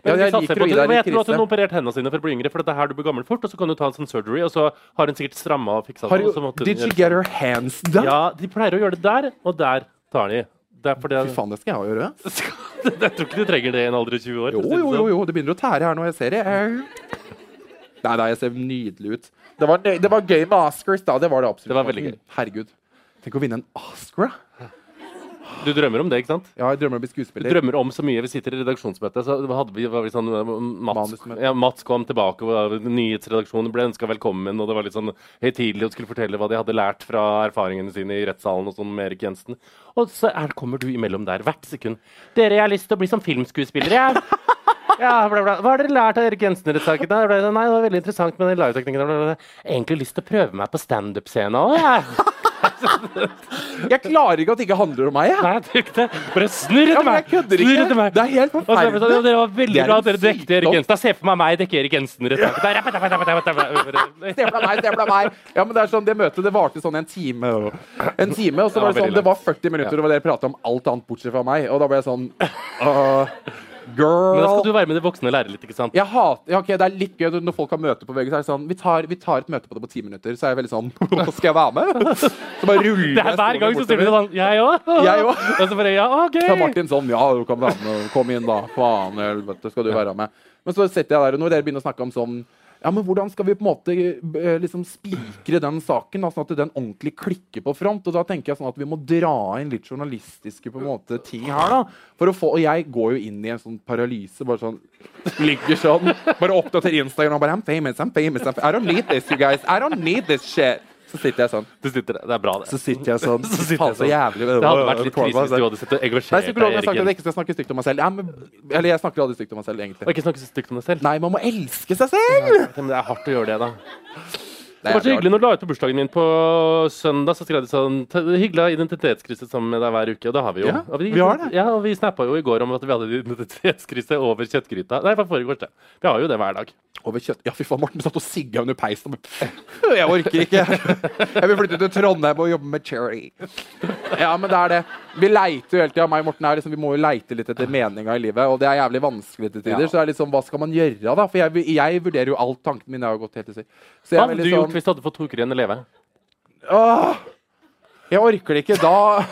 [SPEAKER 2] Ja, jeg
[SPEAKER 5] Men vi satser
[SPEAKER 2] liker
[SPEAKER 5] på
[SPEAKER 2] å gi
[SPEAKER 5] det.
[SPEAKER 2] deg
[SPEAKER 5] Men
[SPEAKER 2] litt
[SPEAKER 5] jeg tror at hun har
[SPEAKER 2] krise.
[SPEAKER 5] operert hendene sine for å bli yngre, for det er her du blir gammel fort, og så kan du ta en sånn surgery, og så har hun sikkert stramma og fiksa
[SPEAKER 2] Har
[SPEAKER 5] det. og
[SPEAKER 2] du,
[SPEAKER 5] så måtte hun
[SPEAKER 2] did you
[SPEAKER 5] gjøre-
[SPEAKER 2] get her hands done?
[SPEAKER 5] Ja, de pleier å gjøre det der, og der tar de. Det er fordi
[SPEAKER 2] Fy faen, det skal jeg gjøre.
[SPEAKER 5] [laughs] Jeg tror ikke de trenger det i en alder av 20 år.
[SPEAKER 2] Jo,
[SPEAKER 5] for å si det
[SPEAKER 2] jo, jo,
[SPEAKER 5] sånn.
[SPEAKER 2] jo, det begynner å tære her nå. Jeg ser det. Au. Nei, nei, jeg ser nydelig ut. Det var, det var gøy med Oscars, da. Det var det absolutt.
[SPEAKER 5] Det var veldig gøy.
[SPEAKER 2] Herregud. Tenk å vinne en Oscar.
[SPEAKER 5] Du drømmer om det, ikke sant?
[SPEAKER 2] Ja, jeg drømmer om å bli skuespiller.
[SPEAKER 5] Drømmer om så mye. Vi sitter i redaksjonsmøte, så hadde vi, var vi sånn eh, Mats,
[SPEAKER 2] Manusmøte.
[SPEAKER 5] ja, Mats kom tilbake, og var- nyhetsredaksjonen ble ønska velkommen, og det var litt sånn høytidelig og skulle fortelle hva de hadde lært fra erfaringene sine i rettssalen og sånn med Erik Jensen. Og så er, kommer du imellom der hvert sekund. Dere, jeg har lyst til å bli som filmskuespiller, jeg. [laughs] Ja, bla, bla. Hva har dere lært av Erik Jensen-rettssaken? da? Bla, bla. Nei, det var veldig interessant med den liveteknikken. bla, bla, bla. Jeg har Egentlig lyst til å prøve meg på standup-scenen òg, jeg.
[SPEAKER 2] Jeg klarer ikke at det ikke handler om meg, jeg.
[SPEAKER 5] Nei, jeg tror ikke det. Bare snurr
[SPEAKER 2] Ja,
[SPEAKER 5] etter
[SPEAKER 2] men
[SPEAKER 5] meg!
[SPEAKER 2] jeg kødder
[SPEAKER 5] Snurr
[SPEAKER 2] ikke.
[SPEAKER 5] etter meg.
[SPEAKER 2] Det er helt
[SPEAKER 5] Og så er det sånn, ja,
[SPEAKER 2] forferdelig.
[SPEAKER 5] dere var veldig
[SPEAKER 2] Det er
[SPEAKER 5] bra
[SPEAKER 2] en
[SPEAKER 5] at dere dekket Erik
[SPEAKER 2] sykdom.
[SPEAKER 5] Jensen. Da ser jeg for meg meg dekke Erik Jensen. rett og slett.
[SPEAKER 2] Det ble meg, det ble meg. Ja, men det er sånn, det møtet det varte sånn en time. og- En time, og så var det sånn, det var 40 minutter, og dere pratet om alt annet bortsett fra meg. Og da ble jeg sånn uh,
[SPEAKER 5] Men da skal du
[SPEAKER 2] Girl.
[SPEAKER 5] være med de voksne og lære litt, ikke sant?
[SPEAKER 2] Jeg hater, ja, ok, Det er litt gøy når folk har møte på VG. Så er det sånn, vi tar, vi tar et møte på det på ti minutter. Så er jeg veldig sånn [laughs] Nå skal jeg være med? [laughs] Så bare ruller
[SPEAKER 5] Det er hver gang så sier du det sånn. Jeg òg.
[SPEAKER 2] Jeg òg.
[SPEAKER 5] Og så bare ja, OK.
[SPEAKER 2] Så er Martin sånn Ja, du kan være med. Kom inn, da. Faen, helvete, skal du være med? Men så sitter jeg der, og når dere begynner å snakke om sånn ja, men Hvordan skal vi på en måte eh, liksom spikre den saken, da, sånn at den ordentlig klikker på front? Og da tenker jeg sånn at vi må dra inn litt journalistiske på en måte, ting her, da. For å få, og jeg går jo inn i en sånn paralyse, bare sånn Ligger sånn, bare oppdaterer Instagram og bare I'm famous, I'm famous, I'm famous. I don't need this, you guys. I don't need this shit. Så sitter jeg sånn.
[SPEAKER 5] Du sitter der. Det er bra, det.
[SPEAKER 2] Så sitter jeg sånn.
[SPEAKER 5] Så sitter jeg
[SPEAKER 2] Faen, så
[SPEAKER 5] sånn.
[SPEAKER 2] jævlig. altså.
[SPEAKER 5] Det hadde vært litt krise hvis du hadde sittet og
[SPEAKER 2] Nei,
[SPEAKER 5] engasjert deg i
[SPEAKER 2] psykologen har
[SPEAKER 5] Erik
[SPEAKER 2] sagt at jeg
[SPEAKER 5] Jensen.
[SPEAKER 2] ikke skal snakke stygt om meg selv. Ja, men, eller jeg snakker aldri stygt om meg selv, egentlig.
[SPEAKER 5] Og ikke snakke så stygt om deg selv.
[SPEAKER 2] Nei, man må elske seg selv!
[SPEAKER 5] Men det er hardt å gjøre det, da.
[SPEAKER 2] Det
[SPEAKER 5] Det var så
[SPEAKER 2] jævlig
[SPEAKER 5] hyggelig når du la ut på bursdagen min på søndag. så skrev de sånn, «T- Hyggelig å ha identitetskrise sammen med deg hver uke. Og det har vi jo.
[SPEAKER 2] Ja,
[SPEAKER 5] og vi,
[SPEAKER 2] vi har det.
[SPEAKER 5] Ja, og vi snappa jo i går om at vi hadde identitetskrise over kjøttgryta. Nei, fra forrige det. Vi har jo det hver dag.
[SPEAKER 2] hardt. Over kjøtt. Ja, fy faen, Morten satt og sigga under peisen. og bare, [laughs] Jeg orker ikke. Jeg vil flytte til Trondheim og jobbe med charity. Ja, men det er det. Vi leiter jo hele tida. Meg og Morten er liksom, vi må jo leite litt etter meninga i livet, og det er jævlig vanskelig til tider. Så det er liksom, hva skal man gjøre, da? For jeg, jeg vurderer jo alt. Tankene mine har jo gått helt til siden. Så jeg
[SPEAKER 5] Hva
[SPEAKER 2] er
[SPEAKER 5] hadde
[SPEAKER 2] veldig
[SPEAKER 5] du gjort
[SPEAKER 2] sånn-
[SPEAKER 5] hvis du hadde fått to uker igjen å leve?
[SPEAKER 2] Åh, jeg orker det ikke. Da [laughs]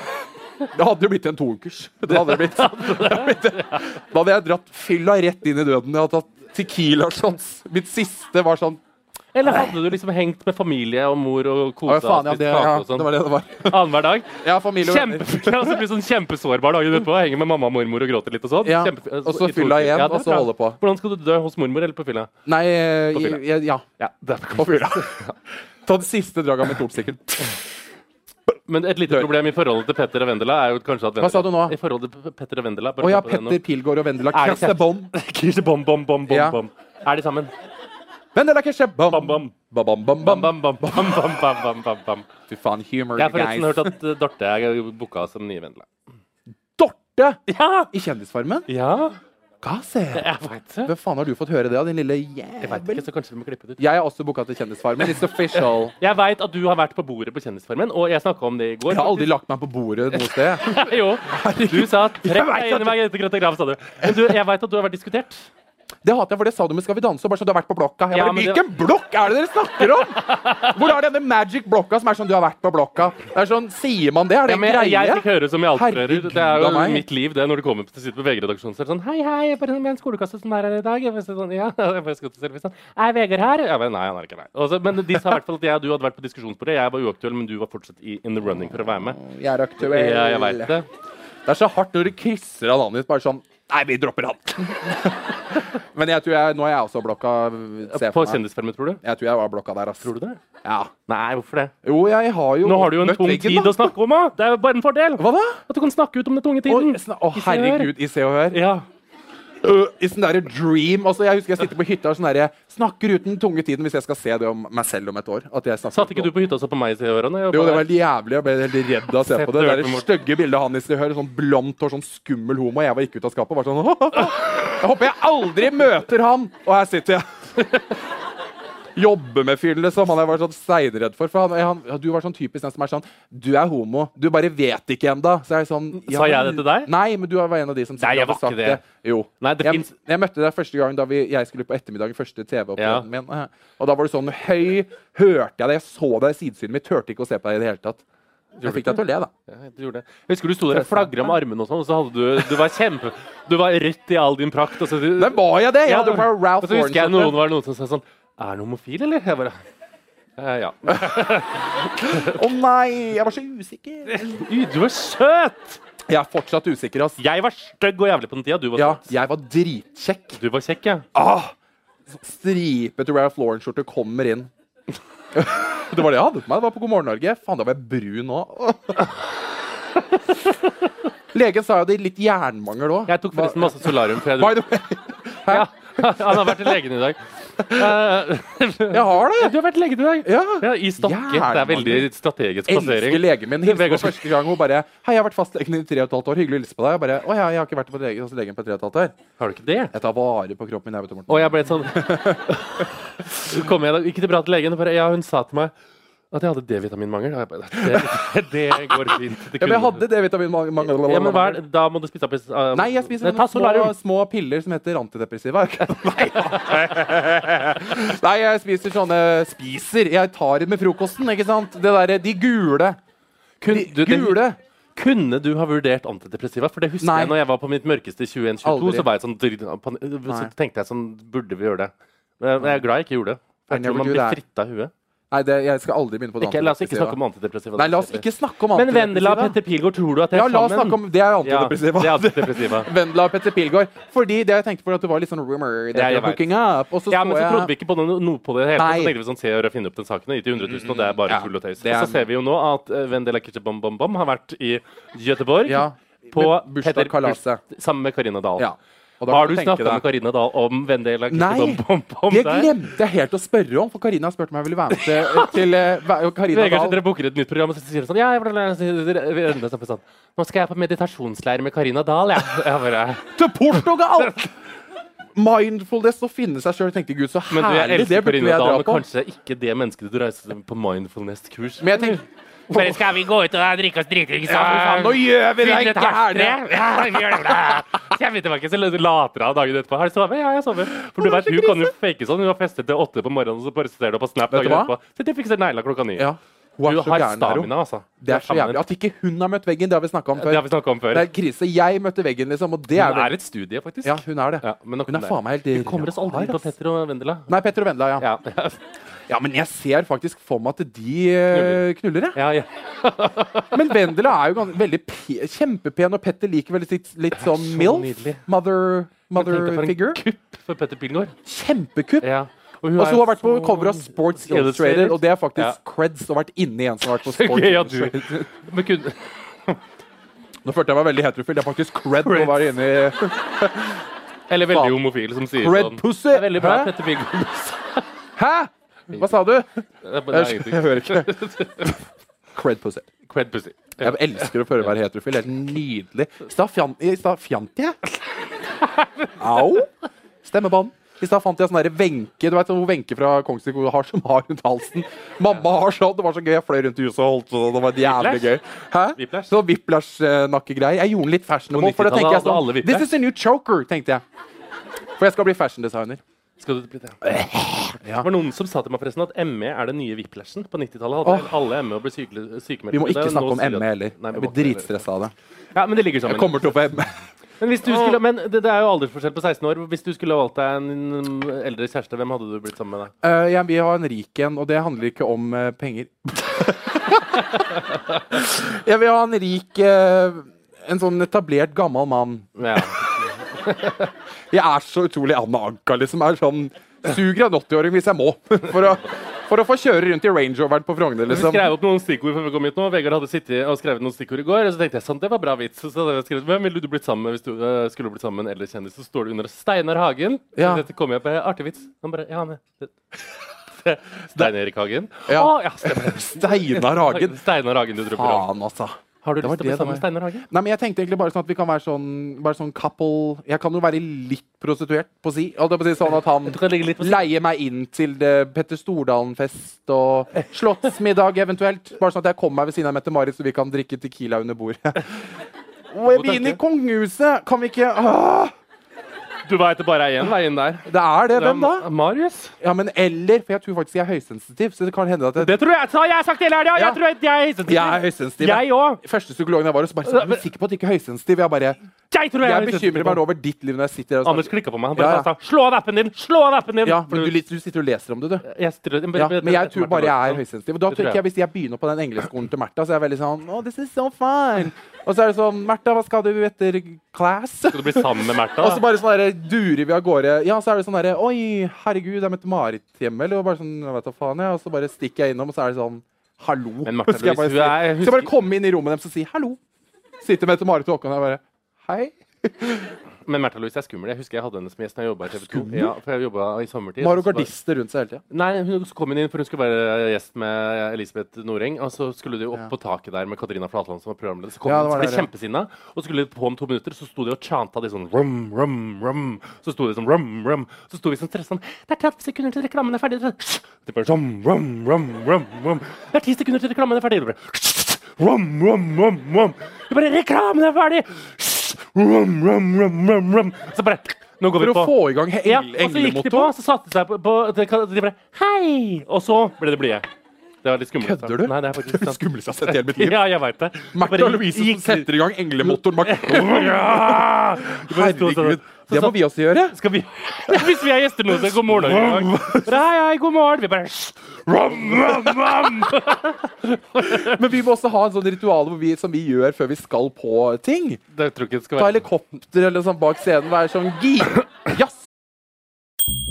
[SPEAKER 2] Det hadde det blitt en toukers. Det hadde det [laughs] blitt. sånn. Det hadde blitt det. Da hadde jeg dratt fylla rett inn i døden. Jeg hadde tatt Tequila shots. Mitt siste var sånn
[SPEAKER 5] Eller hadde du liksom hengt med familie og mor og
[SPEAKER 2] Å,
[SPEAKER 5] kosa
[SPEAKER 2] faen, ja,
[SPEAKER 5] og
[SPEAKER 2] det,
[SPEAKER 5] spist
[SPEAKER 2] ja,
[SPEAKER 5] kake og
[SPEAKER 2] det
[SPEAKER 5] sånn
[SPEAKER 2] var det det
[SPEAKER 5] [laughs]
[SPEAKER 2] var.
[SPEAKER 5] annenhver
[SPEAKER 2] [laughs]
[SPEAKER 5] dag?
[SPEAKER 2] Ja, familie og
[SPEAKER 5] [laughs] Kjempefull og så blir du sånn kjempesårbar dagen etterpå. Henger med mamma og mormor og gråter litt og sånn.
[SPEAKER 2] Ja,
[SPEAKER 5] Kjempe-
[SPEAKER 2] og så
[SPEAKER 5] i to
[SPEAKER 2] fylla
[SPEAKER 5] uker.
[SPEAKER 2] igjen,
[SPEAKER 5] Ja, det er
[SPEAKER 2] og så
[SPEAKER 5] bra.
[SPEAKER 2] holde på.
[SPEAKER 5] Hvordan skal du dø? Hos mormor eller på fylla?
[SPEAKER 2] Nei, eh,
[SPEAKER 5] fylla.
[SPEAKER 2] jeg,
[SPEAKER 5] [laughs]
[SPEAKER 2] ja.
[SPEAKER 5] Ja, det er
[SPEAKER 2] På
[SPEAKER 5] [laughs]
[SPEAKER 2] fylla. Ta det siste draget av [laughs] metopsykkelen.
[SPEAKER 5] Men et lite problem i forholdet til Petter og Vendela er jo kanskje at Vendela,
[SPEAKER 2] sa du nå?
[SPEAKER 5] I forholdet til Petter og Vendela
[SPEAKER 2] Å
[SPEAKER 5] bare
[SPEAKER 2] ja,
[SPEAKER 5] ta på det nå.
[SPEAKER 2] Petter Pilgaard og Vendela
[SPEAKER 5] Er det
[SPEAKER 2] Krasje
[SPEAKER 5] kjeft?
[SPEAKER 2] Bom.
[SPEAKER 5] [laughs] Krysje bom, bom, bom, bom,
[SPEAKER 2] Ja.
[SPEAKER 5] bom. Er de sammen?
[SPEAKER 2] Vendela Krasje Bom.
[SPEAKER 5] Bam, bam.
[SPEAKER 2] Bam, bam, bam,
[SPEAKER 5] Bam,
[SPEAKER 2] bam.
[SPEAKER 5] bam, bam, bam, bam, bam, bam, bam, bam.
[SPEAKER 2] Fy faen, humor,
[SPEAKER 5] Jeg har
[SPEAKER 2] guys.
[SPEAKER 5] forresten hørt at eh, Dorte er booka som nye Vendela.
[SPEAKER 2] Dorte
[SPEAKER 5] [laughs] Ja!
[SPEAKER 2] i Kjendisfarmen?
[SPEAKER 5] Ja,
[SPEAKER 2] Hva ser jeg?
[SPEAKER 5] jeg vet det.
[SPEAKER 2] Hvem faen har du fått høre det av, din lille
[SPEAKER 5] Jeg vet
[SPEAKER 2] jævel?
[SPEAKER 5] ikke, så kanskje vi må klippe det ut.
[SPEAKER 2] Jeg er også booka til Kjendisfarmen. It's official.
[SPEAKER 5] [laughs] Jeg vet at du har vært på bordet på Kjendisfarmen, og jeg snakka om det i går.
[SPEAKER 2] Jeg har aldri lagt meg på bordet noe sted.
[SPEAKER 5] faktisk. Jo, du sa 'trekk deg inn i Margrethe Grøtta Grav', sa du. Men du, jeg veit at du har vært diskutert.
[SPEAKER 2] Det hater jeg, for det sa du med Skal vi danse. og Bare sånn, du har vært på blokka. Jeg
[SPEAKER 5] Ja,
[SPEAKER 2] bare,
[SPEAKER 5] men det-
[SPEAKER 2] Hvilken blokk er det dere snakker om?! [laughs] Hvor er denne magic blokka som er sånn du har vært på blokka? Det er sånn, Sier man det? Er det
[SPEAKER 5] Ja, men
[SPEAKER 2] en
[SPEAKER 5] jeg, jeg
[SPEAKER 2] greie?
[SPEAKER 5] fikk høre som i
[SPEAKER 2] Herregud
[SPEAKER 5] altfører. Det er
[SPEAKER 2] av
[SPEAKER 5] jo
[SPEAKER 2] meg.
[SPEAKER 5] mitt liv, det, når du kommer til sitter på VG-redaksjonen. Så er det sånn Hei, hei, jeg bare med en skolekasse som er her i dag. Jeg bare sånn, ja, [laughs] jeg bare skal til selfie, sånn. Er Vegard her? Ja, men nei, han er ikke her. Og så- men de sa i hvert fall at jeg og du hadde vært på diskusjonsbordet. Jeg var uaktuell, men du var fortsatt i in the running for å være med.
[SPEAKER 2] Jeg er aktuell.
[SPEAKER 5] Ja, jeg vet det.
[SPEAKER 2] Det er så hardt når du krysser av navnet ditt. Bare sånn Nei, vi dropper han. [laughs] Men jeg tror jeg, nå er jeg også blokka. ser jeg
[SPEAKER 5] På
[SPEAKER 2] for meg.
[SPEAKER 5] kjendisfermen, tror du?
[SPEAKER 2] Jeg tror jeg var blokka der, ass.
[SPEAKER 5] Tror du det?
[SPEAKER 2] Ja.
[SPEAKER 5] Nei, hvorfor det?
[SPEAKER 2] Jo, jeg har jo
[SPEAKER 5] Nå har du jo en
[SPEAKER 2] møtt
[SPEAKER 5] tung
[SPEAKER 2] veggen,
[SPEAKER 5] tid
[SPEAKER 2] da.
[SPEAKER 5] å snakke om, da. Det er jo bare en fordel.
[SPEAKER 2] Hva da?
[SPEAKER 5] At du kan snakke ut om den tunge
[SPEAKER 2] Å,
[SPEAKER 5] tiden.
[SPEAKER 2] sn- å,
[SPEAKER 5] I Se og Hør.
[SPEAKER 2] herregud, i Se og Hør.
[SPEAKER 5] Ja.
[SPEAKER 2] Øh, I sånn derre dream altså, Jeg husker jeg sitter på hytta og sånn derre Snakker uten tunge tiden hvis jeg skal se det om meg selv om et år. At jeg snakker
[SPEAKER 5] Satt
[SPEAKER 2] uten
[SPEAKER 5] ikke du på hytta og så på meg i seerørene?
[SPEAKER 2] Jo, det var helt jævlig. Jeg ble helt redd av å se
[SPEAKER 5] Sett
[SPEAKER 2] på det. Det
[SPEAKER 5] og hørt
[SPEAKER 2] er
[SPEAKER 5] med
[SPEAKER 2] det
[SPEAKER 5] Morten.
[SPEAKER 2] stygge bildet av han i Se og Hør. Sånn blondt hår, sånn skummel homo. Jeg var ikke ute av skapet. Bare sånn [laughs] Jeg håper jeg aldri møter han! Og her sitter jeg. [laughs] Jobbe med fyren, liksom. Han jeg var sånn steinredd for. For han, han, ja, du var sånn typisk den som er sånn Du er homo. Du bare vet ikke ennå. Så jeg er sånn ja,
[SPEAKER 5] Sa jeg
[SPEAKER 2] men-
[SPEAKER 5] det til deg?
[SPEAKER 2] Nei, men du var en av de som
[SPEAKER 5] Nei, jeg
[SPEAKER 2] hadde
[SPEAKER 5] var ikke det.
[SPEAKER 2] Jo.
[SPEAKER 5] Nei, det
[SPEAKER 2] jeg,
[SPEAKER 5] finnes-
[SPEAKER 2] jeg møtte deg første gang da vi, jeg skulle på ettermiddag i første TV-opptreden
[SPEAKER 5] Ja.
[SPEAKER 2] min. Og da var du sånn høy. Hørte jeg det? Jeg så deg i sidesynet mitt. Hørte ikke å se på deg i det hele tatt. Jeg fikk deg til å le, da.
[SPEAKER 5] Ja, du gjorde det. Jeg husker du sto der og flagra med armene og sånn, og så hadde du Du var kjempe... Du var rødt i all din prakt. Og så, du,
[SPEAKER 2] Men var jeg det? Jeg hadde jo bare
[SPEAKER 5] og
[SPEAKER 2] Ralph
[SPEAKER 5] så husker jeg
[SPEAKER 2] Lauren.
[SPEAKER 5] noen var noen som sa sånn Er du homofil, eller? Jeg bare eh, Ja.
[SPEAKER 2] Å nei, jeg var så usikker.
[SPEAKER 5] Ui, Du var søt!
[SPEAKER 2] Jeg er fortsatt usikker, ass.
[SPEAKER 5] Jeg var stygg og jævlig på den tida. Du var
[SPEAKER 2] Ja,
[SPEAKER 5] søt.
[SPEAKER 2] jeg var dritkjekk.
[SPEAKER 5] Du var kjekk, ja.
[SPEAKER 2] Ah, stripete Ralph Lauren-skjorte kommer inn. [laughs] Det var det jeg hadde på meg. Det var på God morgen Norge. Faen, da var jeg brun
[SPEAKER 5] [laughs]
[SPEAKER 2] òg. Legen sa jo det litt jernmangel òg.
[SPEAKER 5] Jeg tok forresten masse solarium. For jeg,
[SPEAKER 2] By the way. [laughs] Hæ?
[SPEAKER 5] ja, [laughs] han har vært til legen i dag.
[SPEAKER 2] [laughs]
[SPEAKER 5] Eh,
[SPEAKER 2] Jeg har
[SPEAKER 5] ja,
[SPEAKER 2] det!
[SPEAKER 5] du har vært legen i dag.
[SPEAKER 2] Ja.
[SPEAKER 5] Ja, I Stokke. Det er veldig strategisk
[SPEAKER 2] Elsker
[SPEAKER 5] plassering.
[SPEAKER 2] legen min. Hilste på første gang hun bare 'Hei, jeg har vært fastlegen i tre og et halvt år. Hyggelig å hilse på deg.' Jeg bare 'Å ja, jeg har ikke vært på lege, hos legen på tre og et halvt år.'
[SPEAKER 5] Har du ikke det?
[SPEAKER 2] Jeg tar vare på kroppen min, jeg, vet du, Morten.
[SPEAKER 5] Og jeg ble sånn [laughs] Så kom jeg da, Gikk til prat til legen, og bare Ja, hun sa til meg at jeg hadde D-vitaminmangel. Og jeg bare, Det, [laughs] det går fint. Det
[SPEAKER 2] Ja, men jeg
[SPEAKER 5] kunne-
[SPEAKER 2] hadde D-vitaminmangel.
[SPEAKER 5] ja, men hva er det? Da må du spise opp uh,
[SPEAKER 2] Nei, jeg spiser
[SPEAKER 5] Ta
[SPEAKER 2] noen små,
[SPEAKER 5] solarium.
[SPEAKER 2] små piller som heter antidepressiva. [laughs] Nei, Nei, jeg spiser sånne Spiser! Jeg tar det med frokosten, ikke sant? Det derre De gule.
[SPEAKER 5] Kun, du,
[SPEAKER 2] De gule!
[SPEAKER 5] Det, kunne du ha vurdert antidepressiva? For det husker
[SPEAKER 2] Nei.
[SPEAKER 5] jeg når jeg var på mitt mørkeste 21-22.
[SPEAKER 2] Aldri.
[SPEAKER 5] Så, var jeg sånn, dr- pan- så
[SPEAKER 2] Nei.
[SPEAKER 5] tenkte jeg sånn Burde vi gjøre det? Men jeg er glad jeg ikke gjorde det. For
[SPEAKER 2] Nei,
[SPEAKER 5] Jeg tror man
[SPEAKER 2] men
[SPEAKER 5] blir
[SPEAKER 2] Gud, det
[SPEAKER 5] fritta i huet.
[SPEAKER 2] Nei, det, jeg skal aldri begynne på det
[SPEAKER 5] Ikke, la oss ikke snakke om antidepressiva.
[SPEAKER 2] Nei, la oss ikke snakke om
[SPEAKER 5] Men Vendela og
[SPEAKER 2] antidepressiva.
[SPEAKER 5] Petter Pilgaard, tror du at det
[SPEAKER 2] Ja,
[SPEAKER 5] er
[SPEAKER 2] la oss
[SPEAKER 5] sammen?
[SPEAKER 2] snakke om Det er
[SPEAKER 5] Ja,
[SPEAKER 2] antidepressiva.
[SPEAKER 5] det er
[SPEAKER 2] [laughs]
[SPEAKER 5] antidepressiva.
[SPEAKER 2] Vendela og Petter Pilgaard. Fordi det jeg tenkte på, at det var litt sånn rumor. that
[SPEAKER 5] Ja, jeg
[SPEAKER 2] you're
[SPEAKER 5] vet.
[SPEAKER 2] hooking up. Og så
[SPEAKER 5] Ja, men så
[SPEAKER 2] jeg
[SPEAKER 5] trodde vi ikke på noe, noe på det hele. tatt.
[SPEAKER 2] Nei.
[SPEAKER 5] Så tenkte vi sånn, se og finne opp den saken og gi til 100 000, og det er bare
[SPEAKER 2] Ja,
[SPEAKER 5] tull og tøys.
[SPEAKER 2] det er-
[SPEAKER 5] Og så ser vi jo nå at eh, Vendela Kitchebom Bom Bom har vært i Göteborg
[SPEAKER 2] Ja,
[SPEAKER 5] på
[SPEAKER 2] med
[SPEAKER 5] Petter
[SPEAKER 2] bursdagskalaset.
[SPEAKER 5] Burs- sammen med Karina Dahl.
[SPEAKER 2] ja. Og da kan
[SPEAKER 5] Har du
[SPEAKER 2] tenke
[SPEAKER 5] snakka
[SPEAKER 2] deg-
[SPEAKER 5] med Karina Dahl om Vendela
[SPEAKER 2] Nei,
[SPEAKER 5] Kitchebom Bom Bom
[SPEAKER 2] det
[SPEAKER 5] der?
[SPEAKER 2] glemte jeg helt å spørre om, for Karina spurte om jeg ville være med
[SPEAKER 5] [laughs]
[SPEAKER 2] til, til eh, hva- Karina
[SPEAKER 5] Vegard sitter
[SPEAKER 2] Dahl.
[SPEAKER 5] og booker et nytt program og så sier hun sånn Ja, jeg ble- [laughs] ble- ble- ble- ble- ble- sånn. Nå skal jeg på meditasjonsleir med Karina [laughs] Dahl, jeg. jeg bare,
[SPEAKER 2] Til Portugal! Mindfulness å finne seg sjøl. Tenkte Gud, så
[SPEAKER 5] men du, jeg
[SPEAKER 2] herlig. Det
[SPEAKER 5] elsker
[SPEAKER 2] burde
[SPEAKER 5] Karina
[SPEAKER 2] jeg
[SPEAKER 5] Dahl,
[SPEAKER 2] dra
[SPEAKER 5] men
[SPEAKER 2] på.
[SPEAKER 5] kanskje ikke det mennesket du reiser på mindfulness-kurs
[SPEAKER 2] Men jeg tenkte
[SPEAKER 7] Bare skal vi gå ut og drikke oss dritings
[SPEAKER 5] Eh,
[SPEAKER 2] ja,
[SPEAKER 7] sammen?
[SPEAKER 2] Nå gjør vi det!
[SPEAKER 7] Fylle et
[SPEAKER 2] Ikke herlig!
[SPEAKER 7] glasstre? Ja, vi gjør det.
[SPEAKER 5] [laughs] Kommer tilbake, så later han dagen etterpå. Har du sovet? Ja, jeg har sovet. For du vet, hun kan jo fake sånn. Hun har festet til åtte på morgenen, og så bare ser du på Snap
[SPEAKER 2] Vet du
[SPEAKER 5] dagen
[SPEAKER 2] hva?
[SPEAKER 5] etterpå. Så de fikser negla klokka ni.
[SPEAKER 2] Ja. Hun er
[SPEAKER 5] Du
[SPEAKER 2] så
[SPEAKER 5] har
[SPEAKER 2] gæren der, hun.
[SPEAKER 5] stamina, altså.
[SPEAKER 2] Det er så jævlig. At ikke hun har møtt veggen, det har vi snakka om
[SPEAKER 5] Det
[SPEAKER 2] før.
[SPEAKER 5] har vi snakka om før.
[SPEAKER 2] Det er krise. Jeg møtte veggen, liksom, og det er
[SPEAKER 5] Hun
[SPEAKER 2] vel
[SPEAKER 5] er et studie, faktisk.
[SPEAKER 2] Ja, hun er det.
[SPEAKER 5] Ja, men nok
[SPEAKER 2] Hun
[SPEAKER 5] om
[SPEAKER 2] er
[SPEAKER 5] det.
[SPEAKER 2] faen meg helt
[SPEAKER 5] Vi kommer oss aldri inn på Petter og Vendela.
[SPEAKER 2] Nei, Petter og Vendela, ja.
[SPEAKER 5] Ja.
[SPEAKER 2] Ja, men jeg ser faktisk for meg at de eh, knuller, jeg.
[SPEAKER 5] Ja, ja.
[SPEAKER 2] Men Vendela er jo gans- veldig pe kjempepen, og Petter liker vel litt, litt sånn
[SPEAKER 5] så
[SPEAKER 2] MILF.
[SPEAKER 5] nydelig.
[SPEAKER 2] Mother,
[SPEAKER 5] Tenk deg
[SPEAKER 2] mother
[SPEAKER 5] for en
[SPEAKER 2] figure.
[SPEAKER 5] kupp for Petter Pilgaard.
[SPEAKER 2] Kjempekupp.
[SPEAKER 5] Ja.
[SPEAKER 2] Og så hun har vært på cover av Sports
[SPEAKER 5] Illustrated.
[SPEAKER 2] Illustrated, og det er faktisk
[SPEAKER 5] Ja.
[SPEAKER 2] creds å ha vært inni en som har vært
[SPEAKER 5] [laughs]
[SPEAKER 2] på Sports
[SPEAKER 5] Gøy at du
[SPEAKER 2] Illustrated.
[SPEAKER 5] Men kunne
[SPEAKER 2] Nå følte jeg meg veldig heterofil. Det er faktisk cred å være inni
[SPEAKER 5] Eller veldig
[SPEAKER 2] Faen.
[SPEAKER 5] homofil, som sier
[SPEAKER 2] Red
[SPEAKER 5] sånn.
[SPEAKER 2] pussy!
[SPEAKER 5] Det er veldig bra,
[SPEAKER 2] Hæ?
[SPEAKER 5] Petter Pilgaard.
[SPEAKER 2] Hæ?! Hva sa du?
[SPEAKER 5] Det er
[SPEAKER 2] Jeg,
[SPEAKER 5] bare- det er
[SPEAKER 2] jeg
[SPEAKER 5] ingenting.
[SPEAKER 2] hører ikke.
[SPEAKER 5] [laughs]
[SPEAKER 2] Cred pussy.
[SPEAKER 5] Cred pussy. Ja.
[SPEAKER 2] Jeg elsker å føle meg heterofil. Helt nydelig. I stad fjan- i stad fjant jeg. Au! Stemmebånd. I stad fant jeg sånn derre Wenche Du vet hun Wenche fra Kongsvik hun har som har rundt halsen. Mamma har sånn. Det var så gøy. Jeg fløy rundt i huset og holdt på sånn. Det var jævlig gøy. Hæ?
[SPEAKER 5] Whiplash?
[SPEAKER 2] Så whiplash-nakkegreier. Jeg gjorde den litt fashionable. For da
[SPEAKER 5] 90-tallet
[SPEAKER 2] tenker jeg
[SPEAKER 5] hadde alle
[SPEAKER 2] sånn
[SPEAKER 5] whiplash.
[SPEAKER 2] This is a new choker, tenkte jeg. For jeg skal bli fashiondesigner.
[SPEAKER 5] Skal du bli det? Det var noen som sa til meg forresten at ME er den nye whiplashen. På 90-tallet hadde alle ME og ble syke, sykemeldt.
[SPEAKER 2] Vi må
[SPEAKER 5] Det er
[SPEAKER 2] ikke
[SPEAKER 5] nå
[SPEAKER 2] snakke om
[SPEAKER 5] sier at-
[SPEAKER 2] ME heller.
[SPEAKER 5] Nei, vi
[SPEAKER 2] Jeg
[SPEAKER 5] må
[SPEAKER 2] blir
[SPEAKER 5] ikke det.
[SPEAKER 2] dritstressa av det.
[SPEAKER 5] Ja, men det ligger sammen.
[SPEAKER 2] Jeg kommer til å få E. ME.
[SPEAKER 5] Men, hvis du skulle, men det, det er jo aldersforskjell på 16 år. Hvis du skulle valgt deg en mm, eldre kjæreste, hvem hadde du blitt sammen med? da?
[SPEAKER 2] Eh, jeg vil ha en rik en, og det handler ikke om eh, penger. [laughs] jeg vil ha en rik eh, En sånn etablert gammel mann.
[SPEAKER 5] Ja.
[SPEAKER 2] Jeg er så utrolig Anna Anka, liksom. Jeg er sånn Suger en 80-åring hvis jeg må. [laughs] For å, for å få kjøre rundt i Range Roveren på Frogner,
[SPEAKER 5] Vi
[SPEAKER 2] liksom.
[SPEAKER 5] skrev opp noen stikkord før vi kom hit nå. Vegard hadde sittet og skrevet noen stikkord i går. Og så tenkte jeg sånn, det var bra vits. Så hadde jeg skrevet, Hvem ville du blitt sammen med hvis du eh, skulle blitt sammen med en eldre kjendis? Så står det under Steinar Hagen.
[SPEAKER 2] Ja.
[SPEAKER 5] Så Dette kom jeg på. Artig vits. Han bare, ja, han er [laughs] Stein Erik Hagen.
[SPEAKER 2] Ja.
[SPEAKER 5] Å, ja stemmer.
[SPEAKER 2] Steinar
[SPEAKER 5] [laughs]
[SPEAKER 2] Hagen.
[SPEAKER 5] Steinar Hagen du drømmer om.
[SPEAKER 2] Faen, altså.
[SPEAKER 5] Har du
[SPEAKER 2] det var
[SPEAKER 5] lyst til å
[SPEAKER 2] det
[SPEAKER 5] bli
[SPEAKER 2] det
[SPEAKER 5] sammen med
[SPEAKER 2] var.
[SPEAKER 5] Steinar Hagen?
[SPEAKER 2] Nei, men jeg tenkte egentlig bare sånn at vi kan være sånn, bare sånn couple Jeg kan jo være litt prostituert, på å si. Holdt jeg på å si sånn at han
[SPEAKER 5] Du kan ligge litt på
[SPEAKER 2] leie meg inn til eh, Petter Stordalen-fest og slottsmiddag eventuelt. Bare sånn at jeg kommer meg ved siden av Mette-Marit, så vi kan drikke Tequila under
[SPEAKER 5] [laughs]
[SPEAKER 2] bordet. Og jeg blir inne i kongehuset! Kan vi ikke Åh!
[SPEAKER 5] Du veit det bare er én vei inn der.
[SPEAKER 2] Det er det. Hvem da?
[SPEAKER 5] Ja, Marius?
[SPEAKER 2] Ja, men eller For jeg tror faktisk jeg er høysensitiv, så det kan hende at jeg,
[SPEAKER 5] Det tror jeg. Så jeg har sagt det hele helga!
[SPEAKER 2] Ja.
[SPEAKER 5] Jeg tror at jeg er
[SPEAKER 2] jeg er høysensitiv.
[SPEAKER 5] Jeg òg.
[SPEAKER 2] Første psykologen jeg var hos, bare sånn, er du sikker på at du ikke er høysensitiv? Jeg bare
[SPEAKER 5] Jeg tror jeg,
[SPEAKER 2] Jeg bekymrer meg nå over ditt liv når jeg sitter her og
[SPEAKER 5] Anders
[SPEAKER 2] snakker.
[SPEAKER 5] klikka på meg. Han
[SPEAKER 2] Ja,
[SPEAKER 5] bare
[SPEAKER 2] ja.
[SPEAKER 5] sa 'slå av appen din'! Slå av appen din!
[SPEAKER 2] Ja, men du, du sitter og leser om det, du.
[SPEAKER 5] Jeg strø-
[SPEAKER 2] Ja, men jeg tror bare jeg er
[SPEAKER 5] Martin Borg.
[SPEAKER 2] høysensitiv. Og da
[SPEAKER 5] Det tror
[SPEAKER 2] tror ikke jeg,
[SPEAKER 5] jeg.
[SPEAKER 2] Hvis jeg begynner på den engleskolen til Märtha, så er jeg veldig sånn oh, this is so fun. Og så er det sånn Märtha, hva skal du etter class?
[SPEAKER 5] Skal du bli sammen med Märtha?
[SPEAKER 2] Og så
[SPEAKER 5] da?
[SPEAKER 2] bare sånn der, durer vi av gårde. Ja, så er det sånn derre Oi, herregud, det er Mette-Marit hjemme, eller? Og bare sånn, jeg vet da faen, jeg. Og så bare stikker jeg innom, og så er det sånn Hallo.
[SPEAKER 5] Men Martha
[SPEAKER 2] Skal jeg bare,
[SPEAKER 5] Louise, hun er-
[SPEAKER 2] si- skal jeg bare komme inn i rommet deres og si hallo. Sitter Mette-Marit og Håkon og jeg bare Hei.
[SPEAKER 5] Men Märtha Louise er skummel. Jeg husker jeg hadde henne som gjest når jeg jobba i TV 2. Ja, for jeg jobbet i sommertid.
[SPEAKER 2] Nå har hun
[SPEAKER 5] Så var-
[SPEAKER 2] gardister rundt seg hele tida.
[SPEAKER 5] Nei, hun så kom hun inn, for hun skulle være gjest med Elisabeth Noreng. Og så skulle de jo opp
[SPEAKER 2] Ja.
[SPEAKER 5] på taket der med Katarina Flatland som var programleder. Så kom
[SPEAKER 2] Ja, det
[SPEAKER 5] hun
[SPEAKER 2] var
[SPEAKER 5] og ble
[SPEAKER 2] der, ja.
[SPEAKER 5] kjempesinna. Og så skulle de på om to minutter, så sto de og chanta de sånn rum, rum, rum. Så sto de sånn rum, rum. Så sto vi sånn stressa sånn Det er 30 sekunder til reklamen er ferdig. Det bare rum, rum, rum, rum, rum. Det er 10 sekunder til reklamen er ferdig. Det bare rum, rum, rum, rum. Det bare Reklamen er ferdig! Rum, rum, rum, rum, rum. Så bare Nå går vi
[SPEAKER 2] For
[SPEAKER 5] på
[SPEAKER 2] å få i gang he-
[SPEAKER 5] ja,
[SPEAKER 2] engle-
[SPEAKER 5] og så gikk de på,
[SPEAKER 2] englemotor.
[SPEAKER 5] så satte de seg på, på de, kan- de bare Hei! Og så ble det blide. Det var litt skummelt. altså.
[SPEAKER 2] Kødder du?
[SPEAKER 5] Nei, det er
[SPEAKER 2] [laughs]
[SPEAKER 5] faktisk sant.
[SPEAKER 2] [laughs] Skumleste jeg har sett i hele mitt liv.
[SPEAKER 5] Ja, jeg veit det.
[SPEAKER 2] Märtha Louise som setter i gang
[SPEAKER 5] [laughs]
[SPEAKER 2] englemotoren bak Herregud. Det må vi også
[SPEAKER 5] [laughs]
[SPEAKER 2] gjøre.
[SPEAKER 5] sånn. Skal vi Hvis vi er gjester nå, så god morgen. Norge, i dag. Hei, hei, god morgen. Vi bare
[SPEAKER 2] Men vi må også ha en sånn ritual hvor vi, som vi gjør før vi skal på ting.
[SPEAKER 5] Det tror jeg ikke det skal
[SPEAKER 2] Ta
[SPEAKER 5] være
[SPEAKER 2] helikopter eller sånn bak scenen og være sånn gi.
[SPEAKER 5] [coughs]
[SPEAKER 2] Yes.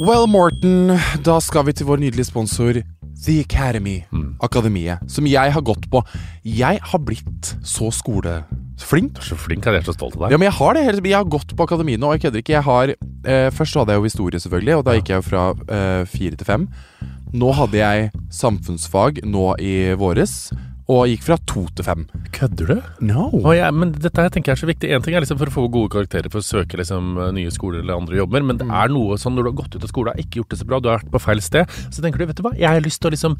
[SPEAKER 6] Well, Morten, da skal vi til vår nydelige sponsor The Academy.
[SPEAKER 2] Mm.
[SPEAKER 6] Akademiet. Som jeg har gått på. Jeg har blitt så skoleflink.
[SPEAKER 8] Så flink, jeg er så stolt av deg.
[SPEAKER 6] Ja, men jeg har det. helt- Jeg har gått på akademiet nå, og jeg kødder ikke. Jeg har, eh, først så hadde jeg jo historie, selvfølgelig, og da gikk jeg jo fra eh, fire til fem. Nå hadde jeg samfunnsfag nå i våres, og gikk fra to til fem.
[SPEAKER 8] Kødder du?
[SPEAKER 6] No.
[SPEAKER 8] Å, ja, men dette her tenker jeg er så viktig. En ting er liksom for å få gode karakterer for å søke liksom, nye skoler eller andre jobber, men det
[SPEAKER 2] Mm.
[SPEAKER 8] er noe sånn når du har gått ut av skolen, har ikke gjort det så bra, du har vært på feil sted, så tenker du vet du hva, jeg har lyst til å liksom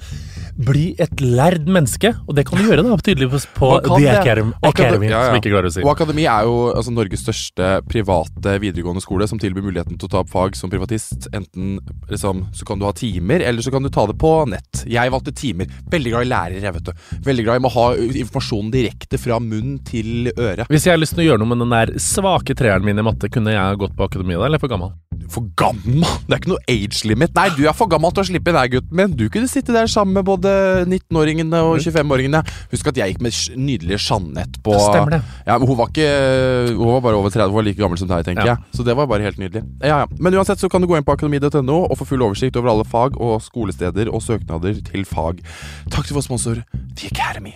[SPEAKER 8] bli et lærd menneske, og det kan du gjøre da, tydeligvis på
[SPEAKER 6] Man kan
[SPEAKER 8] The
[SPEAKER 6] det.
[SPEAKER 8] Academy,
[SPEAKER 6] Og akade-
[SPEAKER 8] Academy
[SPEAKER 6] ja, ja.
[SPEAKER 8] som jeg ikke klarer å si.
[SPEAKER 6] Og Akademi er jo altså, Norges største private videregående skole som tilbyr muligheten til å ta opp fag som privatist. Enten liksom, så kan du ha timer, eller så kan du ta det på nett. Jeg valgte timer. Veldig glad i lærere, jeg, vet du. Veldig glad i å ha ø, informasjonen direkte fra munn til øre.
[SPEAKER 8] Hvis jeg har lyst til å gjøre noe med den der svake treeren min i matte, kunne jeg gått på akademiet da, eller er jeg for gammel?
[SPEAKER 6] For gammel! Det er ikke noe age limit. Nei, du er for gammel til å slippe inn her, gutten min. Du kunne sitte der sammen med både 19-åringene og 25-åringene. Husk at jeg gikk med sj- nydelige Jeanette på
[SPEAKER 8] Stemmer det.
[SPEAKER 6] Ja, men hun var ikke Hun var bare over 30, hun var like gammel som deg, tenker
[SPEAKER 8] Ja.
[SPEAKER 6] jeg. Så det var bare helt nydelig. Ja, ja. Men uansett så kan du gå inn på akademi.no og få full oversikt over alle fag og skolesteder og søknader til fag. Takk til vår sponsor The Academy.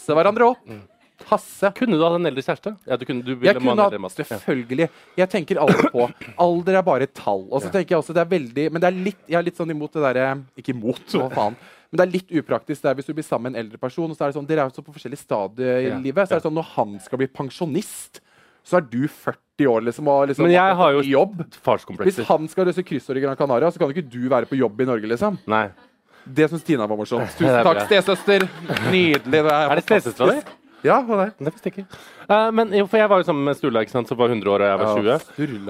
[SPEAKER 2] Se hverandre opp.
[SPEAKER 8] Mm.
[SPEAKER 2] Tasse.
[SPEAKER 5] Kunne du hatt en eldre kjæreste? Ja, du kunne, du ville
[SPEAKER 2] Jeg
[SPEAKER 5] må
[SPEAKER 2] kunne
[SPEAKER 5] ha en eldre
[SPEAKER 2] hatt
[SPEAKER 5] masse. Ja.
[SPEAKER 2] Selvfølgelig. Jeg tenker aldri på Alder er bare et tall. Og så tenker jeg også det er veldig Men det er litt, jeg er litt sånn imot det derre Ikke imot, hva faen. Men det er litt upraktisk det er hvis du blir sammen med en eldre person. Og så er det sånn, Dere er jo så på forskjellige stadier i
[SPEAKER 5] Ja.
[SPEAKER 2] livet. Så er det sånn når han skal bli pensjonist, så er du 40 år, liksom. Og liksom
[SPEAKER 5] Men jeg har jo
[SPEAKER 2] i jobb. Hvis
[SPEAKER 5] farskomplekser.
[SPEAKER 2] han skal løse kryssord i Gran Canaria, så kan jo ikke du være på jobb i Norge, liksom.
[SPEAKER 5] Nei.
[SPEAKER 2] Det syns Tina var
[SPEAKER 5] [laughs]
[SPEAKER 2] morsomt. Tusen
[SPEAKER 5] er
[SPEAKER 2] takk,
[SPEAKER 5] bra.
[SPEAKER 2] stesøster. Nydelig. Det er,
[SPEAKER 5] Er det stesøstera di?
[SPEAKER 2] Ja, hun er
[SPEAKER 5] Det visste jeg ikke. Eh, men jo, for jeg var jo sammen med Sturla, ikke sant, som var 100 år, og jeg var 20. Og da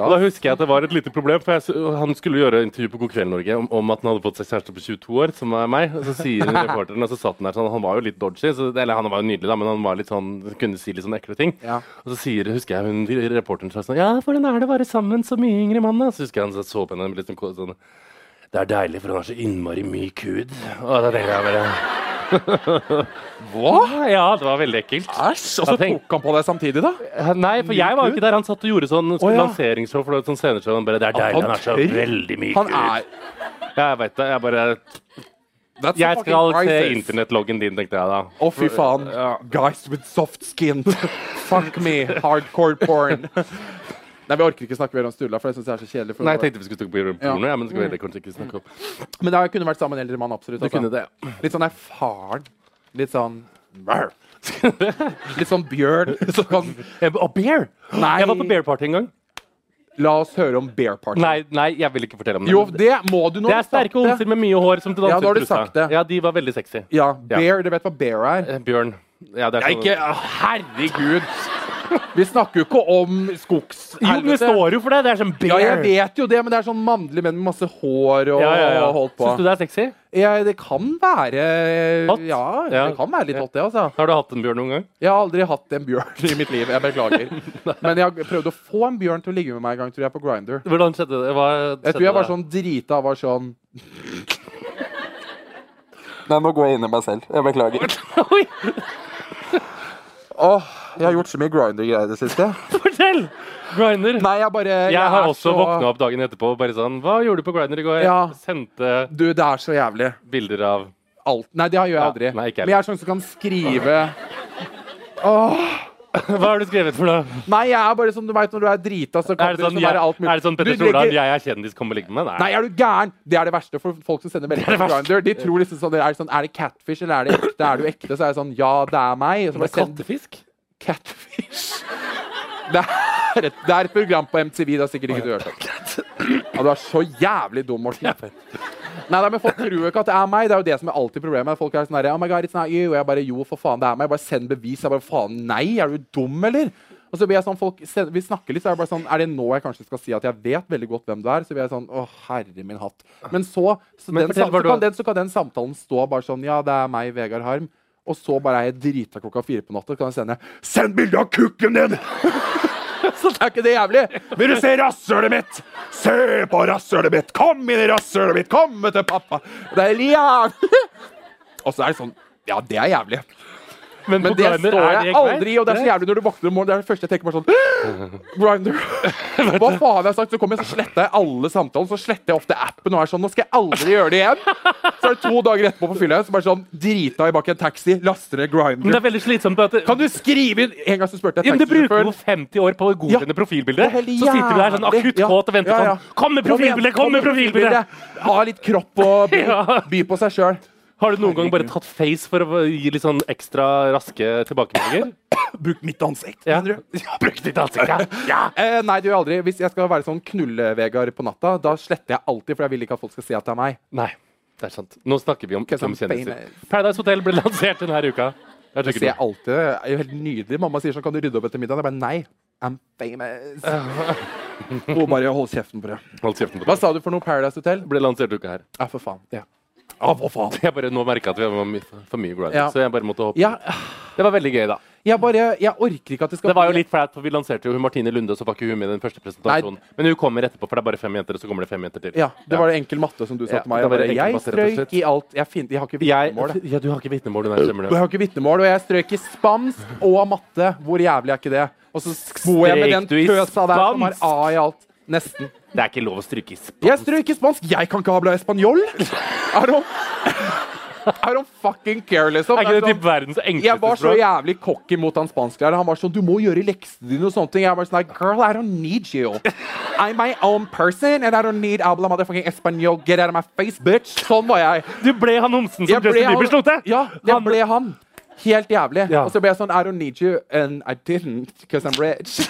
[SPEAKER 2] Sturla.
[SPEAKER 5] husker jeg at det var et lite problem, for jeg, s- han skulle gjøre intervju på God kveld Norge om, om at han hadde fått seg kjæreste på 22 år, som er meg. Og så sier reporteren, og så satt han der sånn, han var jo litt dodgy, så, eller han var jo nydelig da, men han var litt sånn, kunne si litt sånn ekle ting.
[SPEAKER 2] Ja.
[SPEAKER 5] Og så sier, husker jeg hun, reporteren sa sånn, ja, hvordan er det å være sammen så mye yngre mann da? Så husker jeg han så- så på henne, litt sånn, sånn, det er deilig, for han har så innmari myk hud. Og da tenker jeg bare... [laughs] Hva? Ja, det var veldig ekkelt.
[SPEAKER 2] Æsj! Og så
[SPEAKER 5] Ja, tenk.
[SPEAKER 2] tok han på deg samtidig, da.
[SPEAKER 5] Eh, Nei, for jeg var jo ikke der. Han satt og gjorde sånn
[SPEAKER 2] Å,
[SPEAKER 5] skulle
[SPEAKER 2] ja.
[SPEAKER 5] lanseringsshow for det var et sånt sceneshow. Han bare, det er deilig, han er så
[SPEAKER 2] tøy.
[SPEAKER 5] veldig myk.
[SPEAKER 2] Han er
[SPEAKER 5] Ja, jeg vet det. Jeg bare
[SPEAKER 2] That's a
[SPEAKER 5] Jeg
[SPEAKER 2] fucking
[SPEAKER 5] skal se
[SPEAKER 2] crisis.
[SPEAKER 5] internettloggen din, tenkte jeg da.
[SPEAKER 2] Å, fy faen. Guys with soft skin. [laughs] Fuck me. Hardcore porn. Nei, Vi orker ikke snakke mer om Sturla, for det syns jeg er så kjedelig. For
[SPEAKER 5] Nei, jeg tenkte vi skulle snakke om porno,
[SPEAKER 2] Ja. Mm.
[SPEAKER 5] ja, men det skal vi heller kanskje ikke snakke om
[SPEAKER 2] Men det kunne vært sammen med en eldre mann, absolutt.
[SPEAKER 5] Du
[SPEAKER 2] altså.
[SPEAKER 5] kunne det, ja.
[SPEAKER 2] Litt sånn erfaren. Litt sånn brr. Litt sånn bjørn. [laughs] som kan-
[SPEAKER 5] Jeg, og bear!
[SPEAKER 2] Eh, Nei.
[SPEAKER 5] Jeg var på bear party en gang.
[SPEAKER 2] La oss høre om Bear Party.
[SPEAKER 5] Nei, nei, jeg vil ikke fortelle om det.
[SPEAKER 2] Jo, det må du nå.
[SPEAKER 5] det er sterke homser med mye hår som til
[SPEAKER 2] Ja, nå har du
[SPEAKER 5] danseutrusta.
[SPEAKER 2] sagt det.
[SPEAKER 5] Ja, de var veldig sexy.
[SPEAKER 2] Ja, bear, Du vet hva bear er?
[SPEAKER 5] Eh, Bjørn. Ja, det er sånn-
[SPEAKER 2] Herregud. Vi snakker jo ikke om skogs...
[SPEAKER 5] Jo, men det står jo for det. Det er sånn bear.
[SPEAKER 2] Ja, jeg vet jo det, men det er sånn mannlig menn med masse hår og,
[SPEAKER 5] Ja, ja, ja.
[SPEAKER 2] og holdt på.
[SPEAKER 5] Syns du det er sexy?
[SPEAKER 2] Ja, det kan være eh,
[SPEAKER 5] Hot?
[SPEAKER 2] Ja, det
[SPEAKER 5] Ja.
[SPEAKER 2] kan være litt hot, det, altså.
[SPEAKER 5] Har du hatt en bjørn noen gang?
[SPEAKER 2] Jeg har aldri hatt en bjørn i mitt liv. Jeg
[SPEAKER 5] [laughs]
[SPEAKER 2] beklager. Men jeg har prøvd å få en bjørn til å ligge med meg en gang, tror jeg, på Grinder.
[SPEAKER 5] Hvordan skjedde det? Hva
[SPEAKER 2] Jeg
[SPEAKER 5] skjedde
[SPEAKER 2] tror jeg var
[SPEAKER 5] der?
[SPEAKER 2] sånn drita og var sånn
[SPEAKER 9] Nei, nå går jeg inn i meg selv. Jeg beklager.
[SPEAKER 5] Oi,
[SPEAKER 9] Åh, jeg har gjort så mye grinder-greier i det siste.
[SPEAKER 5] fortell! Grinder.
[SPEAKER 2] Nei, jeg bare
[SPEAKER 5] Jeg har også våkna opp dagen etterpå og bare sånn Hva gjorde du på Grindr i går?
[SPEAKER 2] Ja.
[SPEAKER 5] Sendte
[SPEAKER 2] Du, det er så jævlig.
[SPEAKER 5] bilder av [laughs]
[SPEAKER 2] Alt. Nei, det gjør jeg
[SPEAKER 5] Ja,
[SPEAKER 2] aldri.
[SPEAKER 5] nei, ikke jeg.
[SPEAKER 2] Men jeg er sånn som kan skrive
[SPEAKER 5] Hva har du skrevet for noe?
[SPEAKER 2] Nei, jeg er bare sånn du veit når du er drita, så kan
[SPEAKER 5] Er det
[SPEAKER 2] du
[SPEAKER 5] sånn,
[SPEAKER 2] liksom
[SPEAKER 5] jeg,
[SPEAKER 2] være alt mulig.
[SPEAKER 5] er det sånn Petter
[SPEAKER 2] Du legger-
[SPEAKER 5] Stordalen, jeg er kjendis, kom og ligg med meg?
[SPEAKER 2] Nei, er du gæren? Det er det verste for folk som sender meldinger på Grindr. De tror liksom sånn, det er sånn Er det catfish, eller er det ekte? Er du ekte? Så er jeg sånn Ja, det er meg. Og så bare send
[SPEAKER 5] kattefisk?
[SPEAKER 2] catfish. Det er, et, det er et program på MTV, det har sikkert ikke du hørt om. Ja, du er så jævlig dum, Morten. Nei, nei, men Folk tror jo ikke at det er meg. Det er jo det som er alltid problemet. Folk er sånn her, oh my god, it's not you. Og jeg bare jo, for faen, det er meg. Jeg bare send bevis. Jeg bare faen, nei, er du dum, eller? Og så blir jeg sånn, folk, send- Vi snakker litt, så er det bare sånn Er det nå jeg kanskje skal si at jeg vet veldig godt hvem du er? Så blir jeg sånn Å, herre min hatt. Men så så,
[SPEAKER 5] Men
[SPEAKER 2] den,
[SPEAKER 5] fortell
[SPEAKER 2] sam-
[SPEAKER 5] hva
[SPEAKER 2] så,
[SPEAKER 5] du-
[SPEAKER 2] kan den, så kan den samtalen stå bare sånn Ja, det er meg, Vegard Harm. Og så bare er jeg drita klokka fire på natta, og kan jeg sende Send bilde av kukken din! så [laughs] det er ikke det jævlig. Vil du se rasshølet mitt? Se på rasshølet mitt! Kom inn i rasshølet mitt! Kom til pappa! Det er jævlig! [laughs] Og så er det sånn Ja, det er jævlig.
[SPEAKER 5] Men,
[SPEAKER 2] Men
[SPEAKER 5] på
[SPEAKER 2] det
[SPEAKER 5] Grindr
[SPEAKER 2] står
[SPEAKER 5] er
[SPEAKER 2] jeg
[SPEAKER 5] det greit.
[SPEAKER 2] aldri i, og det er så jævlig når du våkner om morgenen. Det er det første jeg tenker bare sånn [gasps]
[SPEAKER 5] [laughs]
[SPEAKER 2] Grinder. Hva faen har jeg sagt? Så kommer jeg, så sletter jeg alle samtalene. Så sletter jeg ofte appen og er sånn Nå skal jeg aldri gjøre det igjen. Så er det to dager etterpå på fylla, så bare sånn drita i bak en taxi, laster ned
[SPEAKER 5] Men
[SPEAKER 2] Grinder.
[SPEAKER 5] det er veldig slitsomt. at-
[SPEAKER 2] Kan du skrive inn En gang så spurte
[SPEAKER 5] Ja,
[SPEAKER 2] jeg
[SPEAKER 5] men du bruker
[SPEAKER 2] taxisjåføren
[SPEAKER 5] jo 50 år på å
[SPEAKER 2] Ja.
[SPEAKER 5] godkjenne profilbilder.
[SPEAKER 2] Det er helt
[SPEAKER 5] Så sitter du der sånn
[SPEAKER 2] jævlig.
[SPEAKER 5] akutt
[SPEAKER 2] Ja.
[SPEAKER 5] kåt og venter
[SPEAKER 2] Ja, ja.
[SPEAKER 5] sånn Kom
[SPEAKER 2] Kom igjen,
[SPEAKER 5] med profilbilde! Kom med profilbilde!
[SPEAKER 2] Ha litt kropp
[SPEAKER 5] [laughs]
[SPEAKER 2] og by,
[SPEAKER 5] Ja.
[SPEAKER 2] by på seg sjøl.
[SPEAKER 5] Har du noen gang bare tatt face for å gi litt sånn ekstra raske tilbakemeldinger?
[SPEAKER 2] Bruk mitt ansikt.
[SPEAKER 5] Ja. ja, [laughs] Bruk ditt ansikt,
[SPEAKER 2] [laughs]
[SPEAKER 5] ja. ja!
[SPEAKER 2] Eh, nei, det gjør jeg aldri. Hvis jeg skal være sånn knulle-Vegard på natta, da sletter jeg alltid, for jeg vil ikke at folk skal si at det er meg.
[SPEAKER 5] Nei, det er sant. Nå snakker vi om,
[SPEAKER 2] Ikke
[SPEAKER 5] om
[SPEAKER 2] sant,
[SPEAKER 5] kjendiser.
[SPEAKER 2] Bane.
[SPEAKER 5] Paradise Hotel ble lansert denne uka. Jeg tror
[SPEAKER 2] Jeg
[SPEAKER 5] ikke
[SPEAKER 2] ser
[SPEAKER 5] det.
[SPEAKER 2] alltid det. er jo helt nydelig. Mamma sier sånn, kan du rydde opp etter middagen? Jeg bare nei. I'm
[SPEAKER 5] [laughs]
[SPEAKER 2] famous. Hun bare hold kjeften på det.
[SPEAKER 5] Hold kjeften på
[SPEAKER 2] Hva
[SPEAKER 5] deg.
[SPEAKER 2] sa du for noe Paradise Hotel?
[SPEAKER 5] Ble lansert uka her.
[SPEAKER 2] Ja, for faen. Ja.
[SPEAKER 5] Jeg bare nå merket at vi var my- for mye grind,
[SPEAKER 2] Ja.
[SPEAKER 5] så jeg bare måtte hoppe.
[SPEAKER 2] Ja,
[SPEAKER 5] Det var veldig gøy, da.
[SPEAKER 2] jeg bare Jeg orker ikke at det skal
[SPEAKER 5] Det var jo
[SPEAKER 2] bli-
[SPEAKER 5] litt flaut, for vi lanserte jo hun Martine Lunde, så var ikke hun med i den første presentasjonen. Men hun kommer etterpå, for det er bare fem jenter, og så kommer det fem jenter til.
[SPEAKER 2] ja, Det var det enkel matte som du sa
[SPEAKER 5] Ja,
[SPEAKER 2] til meg.
[SPEAKER 5] det
[SPEAKER 2] Jeg,
[SPEAKER 5] var
[SPEAKER 2] bare,
[SPEAKER 5] enkel
[SPEAKER 2] jeg
[SPEAKER 5] matte, rett og
[SPEAKER 2] strøyk
[SPEAKER 5] slett.
[SPEAKER 2] i alt. Jeg, fin, jeg har ikke
[SPEAKER 5] Jeg,
[SPEAKER 2] vitnemål.
[SPEAKER 5] [laughs]
[SPEAKER 2] jeg.
[SPEAKER 5] ja, du har ikke vitnemål, du der, stemmer
[SPEAKER 2] Og jeg
[SPEAKER 5] det.
[SPEAKER 2] har ikke vitnemål, og jeg strøk i spansk og matte. Hvor jævlig er ikke det? Og så bor jeg med den
[SPEAKER 5] Strøk du i
[SPEAKER 2] pøsa der som har
[SPEAKER 5] spansk?
[SPEAKER 2] A i alt. Nesten.
[SPEAKER 5] Det er ikke lov å stryke i sp...
[SPEAKER 2] Jeg strøk i spansk! Jeg kan ikke habla espanjol! [laughs] I don't, I don't fucking care, liksom.
[SPEAKER 5] Er ikke
[SPEAKER 2] Det
[SPEAKER 5] det
[SPEAKER 2] er
[SPEAKER 5] typ
[SPEAKER 2] sånn-
[SPEAKER 5] verdens
[SPEAKER 2] Jeg var
[SPEAKER 5] enkleste
[SPEAKER 2] så
[SPEAKER 5] språk?
[SPEAKER 2] jævlig cocky mot han spansklæreren. Han var sånn 'Du må gjøre leksene dine' og sånne ting. Jeg var sånn like, 'Girl, I don't need you. I'm my own person, and I don't need habla motherfucking espanjol. Get out of my face, bitch!' Sånn var jeg.
[SPEAKER 5] Du ble han homsen som
[SPEAKER 2] Jeg ble
[SPEAKER 5] Justin
[SPEAKER 2] han-
[SPEAKER 5] Bieber slo til!
[SPEAKER 2] Ja, jeg
[SPEAKER 5] Han-
[SPEAKER 2] ble han. Helt jævlig.
[SPEAKER 5] Ja.
[SPEAKER 2] Og så ble jeg sånn I don't need you, and I didn't, because I'm
[SPEAKER 5] [laughs]
[SPEAKER 2] rich.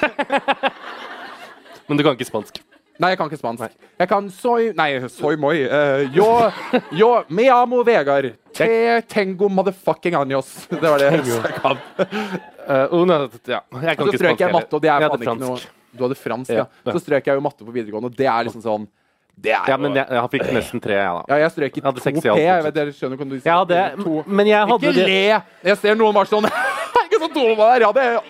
[SPEAKER 5] Men du kan ikke spansk.
[SPEAKER 2] Nei, jeg kan ikke spansk. Jeg kan soy Nei, soy moi. eh, yo, yo me amo Vegard. Te tengo motherfucking años. Det var det [laughs] jeg kan.
[SPEAKER 5] [laughs] Eh, oh, nei, ja. Jeg kan
[SPEAKER 2] Så
[SPEAKER 5] ikke spansk
[SPEAKER 2] strøk Altså, jeg matte, og det er
[SPEAKER 5] Jeg hadde
[SPEAKER 2] faen ikke noe
[SPEAKER 5] fransk.
[SPEAKER 2] Du hadde fransk, ja.
[SPEAKER 5] Ja.
[SPEAKER 2] Så strøk jeg jo matte på videregående, og det er liksom sånn Det er
[SPEAKER 5] Ja,
[SPEAKER 2] jo
[SPEAKER 5] men jeg, jeg fikk nesten tre, jeg, da.
[SPEAKER 2] Ja, jeg strøk i
[SPEAKER 5] hadde
[SPEAKER 2] 2
[SPEAKER 5] seks i
[SPEAKER 2] P.
[SPEAKER 5] alt,
[SPEAKER 2] Jeg vet, dere skjønner hva du sier.
[SPEAKER 5] Jeg hadde,
[SPEAKER 2] To.
[SPEAKER 5] men jeg hadde
[SPEAKER 2] Ikke le! Jeg ser noen var sånn [laughs] Det er ikke på do med deg? Jeg hadde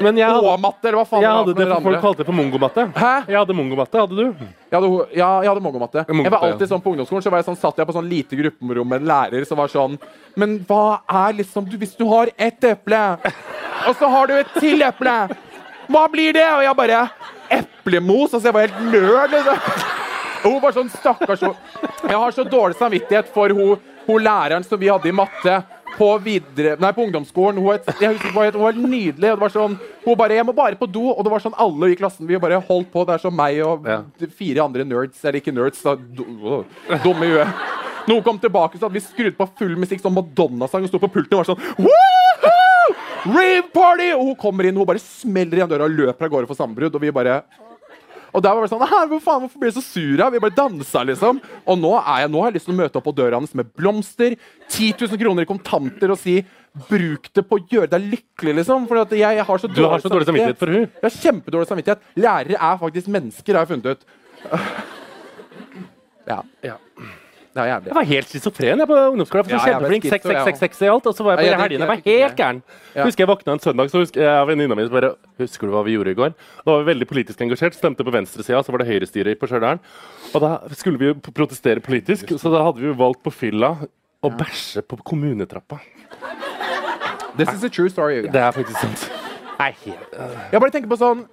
[SPEAKER 5] Men jeg hadde,
[SPEAKER 2] Å-matte, eller hva faen
[SPEAKER 5] jeg
[SPEAKER 2] var for
[SPEAKER 5] hadde det
[SPEAKER 2] noen
[SPEAKER 5] folk
[SPEAKER 2] andre.
[SPEAKER 5] kalte det for mongomatte.
[SPEAKER 2] Hæ?
[SPEAKER 5] Jeg hadde mongomatte, hadde du?
[SPEAKER 2] Jeg hadde, ho- ja, jeg hadde mongomatte.
[SPEAKER 5] Mongomatte,
[SPEAKER 2] Jeg var alltid sånn På ungdomsskolen så var jeg sånn, satt jeg på sånn lite grupperom med en lærer som var sånn Men hva er liksom du, Hvis du har ett eple, og så har du et til eple, hva blir det? Og jeg bare Eplemos? Altså, jeg var helt nerd, liksom. Og Hun var sånn stakkars hun- Jeg har så dårlig samvittighet for hun, hun læreren som vi hadde i matte på, videre, nei, på ungdomsskolen. Hun, het, jeg husker, ikke hva hun, het, hun var helt nydelig. Og det var sånn, hun bare 'Jeg må bare på do.' Og det var sånn alle i klassen vi bare holdt på. Det er sånn meg og de fire andre nerds. Eller ikke nerds, da. Du, å, dumme i huet. Når hun kom tilbake, så hadde vi skrudd på full musikk, sånn Madonna-sang, og sto på pulten og var sånn Woohoo! Rave party! Og hun kommer inn, og hun bare smeller igjen døra og løper av gårde for sambrudd. Og vi bare og der var det sånn Hæ, hvor faen, Hvorfor blir du så sur? her? Vi bare dansa, liksom. Og nå, er jeg, nå har jeg lyst til å møte opp på døra hans med blomster, 10 000 kroner i kontanter og si Bruk det på å gjøre deg lykkelig, liksom. For at jeg har så
[SPEAKER 5] Du har så dårlig samvittighet for hun.
[SPEAKER 2] Jeg har kjempedårlig samvittighet. Lærere er faktisk mennesker, har jeg funnet ut. [laughs] Ja. Det er jævlig.
[SPEAKER 5] Jeg var helt schizofren jeg på ungdomsskolen. Jeg
[SPEAKER 2] Ja,
[SPEAKER 5] var
[SPEAKER 2] jeg ble
[SPEAKER 5] kjempeflink,
[SPEAKER 2] schizo, jeg
[SPEAKER 5] 666 i alt, og så var jeg på
[SPEAKER 2] Ja, jeg
[SPEAKER 5] ja,
[SPEAKER 2] tenkte-
[SPEAKER 5] helgene. Jeg var
[SPEAKER 2] jeg tenkte
[SPEAKER 5] helt gæren. Husker jeg våkna en søndag, så husker jeg venninna mi som bare Husker du hva vi gjorde i går? Da var vi veldig politisk engasjert, stemte på venstresida, så var det høyrestyre på Stjørdal. Og da skulle vi jo p- protestere politisk, så da hadde vi jo valgt på fylla å bæsje på kommunetrappa.
[SPEAKER 2] This is a true story. you guys.
[SPEAKER 5] Det er faktisk sant. Nei, helt-
[SPEAKER 2] Jeg bare tenker på sånn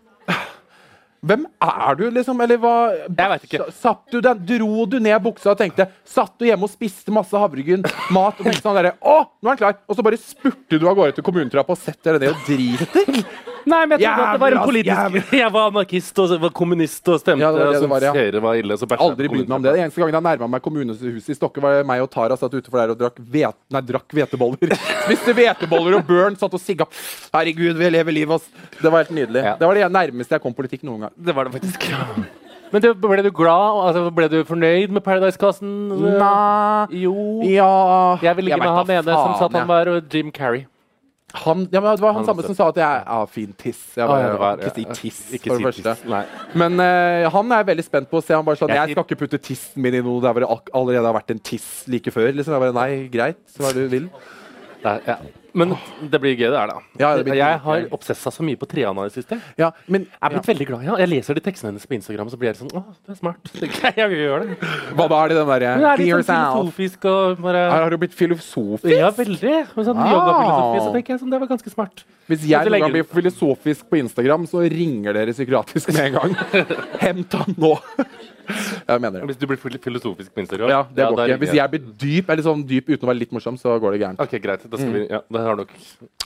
[SPEAKER 2] Hvem er du, liksom? Eller hva
[SPEAKER 5] Jeg vet ikke.
[SPEAKER 2] Satt du den, Dro du ned buksa og tenkte Satt du hjemme og spiste masse havregryn, mat og tenkte sånn derre Å, nå er den klar! Og så bare spurte du av gårde til kommunetrappa og setter deg ned og driter?
[SPEAKER 5] Nei, men jeg trodde at det var en
[SPEAKER 2] Jævlig, ass,
[SPEAKER 5] politisk Jeg var anarkist og så var kommunist og stemte
[SPEAKER 2] Ja, det var det
[SPEAKER 5] og
[SPEAKER 2] det var, ja.
[SPEAKER 5] syntes dere var ille, så bæsja jeg
[SPEAKER 2] Aldri
[SPEAKER 5] på
[SPEAKER 2] brydd meg om det. Den eneste gangen jeg nærma meg kommunehuset i Stokke, var det meg og Tara satt utenfor der og drakk, vet, nei, drakk hveteboller. [laughs] Spiste hveteboller og Burn satt og sigga. Herregud, vi lever livet, ass. Det var helt nydelig.
[SPEAKER 5] Ja.
[SPEAKER 2] Det var det nærmeste jeg kom politikk noen gang.
[SPEAKER 5] Det var det faktisk. Men det, ble du glad? Altså, ble du fornøyd med Paradise-kassen?
[SPEAKER 2] Nei
[SPEAKER 5] Jo.
[SPEAKER 2] Ja
[SPEAKER 5] Jeg vil ligge
[SPEAKER 2] vet
[SPEAKER 5] med han
[SPEAKER 2] da
[SPEAKER 5] ene
[SPEAKER 2] faen,
[SPEAKER 5] som sa at
[SPEAKER 2] jeg.
[SPEAKER 5] han var og Jim Carrey.
[SPEAKER 2] Han, ja, men det var han, Ah, samme
[SPEAKER 5] også.
[SPEAKER 2] som sa at jeg er fin tiss. Jeg
[SPEAKER 5] Å,
[SPEAKER 2] bare,
[SPEAKER 5] ja, det var-
[SPEAKER 2] ikke si
[SPEAKER 5] ja,
[SPEAKER 2] tiss,
[SPEAKER 5] ikke
[SPEAKER 2] for det
[SPEAKER 5] si
[SPEAKER 2] første.
[SPEAKER 5] tiss, nei.
[SPEAKER 2] Men eh, han er jeg veldig spent på å se. Han bare sånn,
[SPEAKER 5] Jeg
[SPEAKER 2] jeg,
[SPEAKER 5] sier-
[SPEAKER 2] skal ikke putte tissen min i noe der hvor det ak- allerede har vært en tiss like før. Liksom. Jeg bare, nei, greit, så hva du vil.
[SPEAKER 5] Nei, ja. Men det blir gøy, det her, da.
[SPEAKER 2] Ja, det blir
[SPEAKER 5] jeg
[SPEAKER 2] dritgøy.
[SPEAKER 5] har obsessa så mye på Triana i det siste. Jeg
[SPEAKER 2] Ja, men
[SPEAKER 5] er blitt veldig glad i henne. Jeg leser de tekstene hennes på Instagram, så blir jeg litt sånn Å, du er smart. [laughs] Jeg gjør det.
[SPEAKER 2] hva da er det den derre
[SPEAKER 5] Hun er
[SPEAKER 2] Be
[SPEAKER 5] litt sånn
[SPEAKER 2] yourself.
[SPEAKER 5] filosofisk og bare
[SPEAKER 2] Her har du Ah. blitt filosof.
[SPEAKER 5] Ja, veldig. Hun sånn
[SPEAKER 2] Wow.
[SPEAKER 5] yogafilosofi, så tenker jeg sånn, det var ganske smart.
[SPEAKER 2] Hvis jeg
[SPEAKER 5] Så
[SPEAKER 2] noen
[SPEAKER 5] legger
[SPEAKER 2] gang blir filosofisk på Instagram, så ringer dere psykiatrisk med en [laughs] gang. Hent han nå! Jeg mener det.
[SPEAKER 5] Hvis du blir fil- filosofisk på Instagram?
[SPEAKER 2] Ja, det går
[SPEAKER 5] da
[SPEAKER 2] ikke.
[SPEAKER 5] ringer
[SPEAKER 2] Hvis jeg blir dyp, eller sånn dyp uten å være litt morsom, så går det gærent.
[SPEAKER 5] Ok, greit. Da skal
[SPEAKER 2] Mm.
[SPEAKER 5] vi Ja, det har nok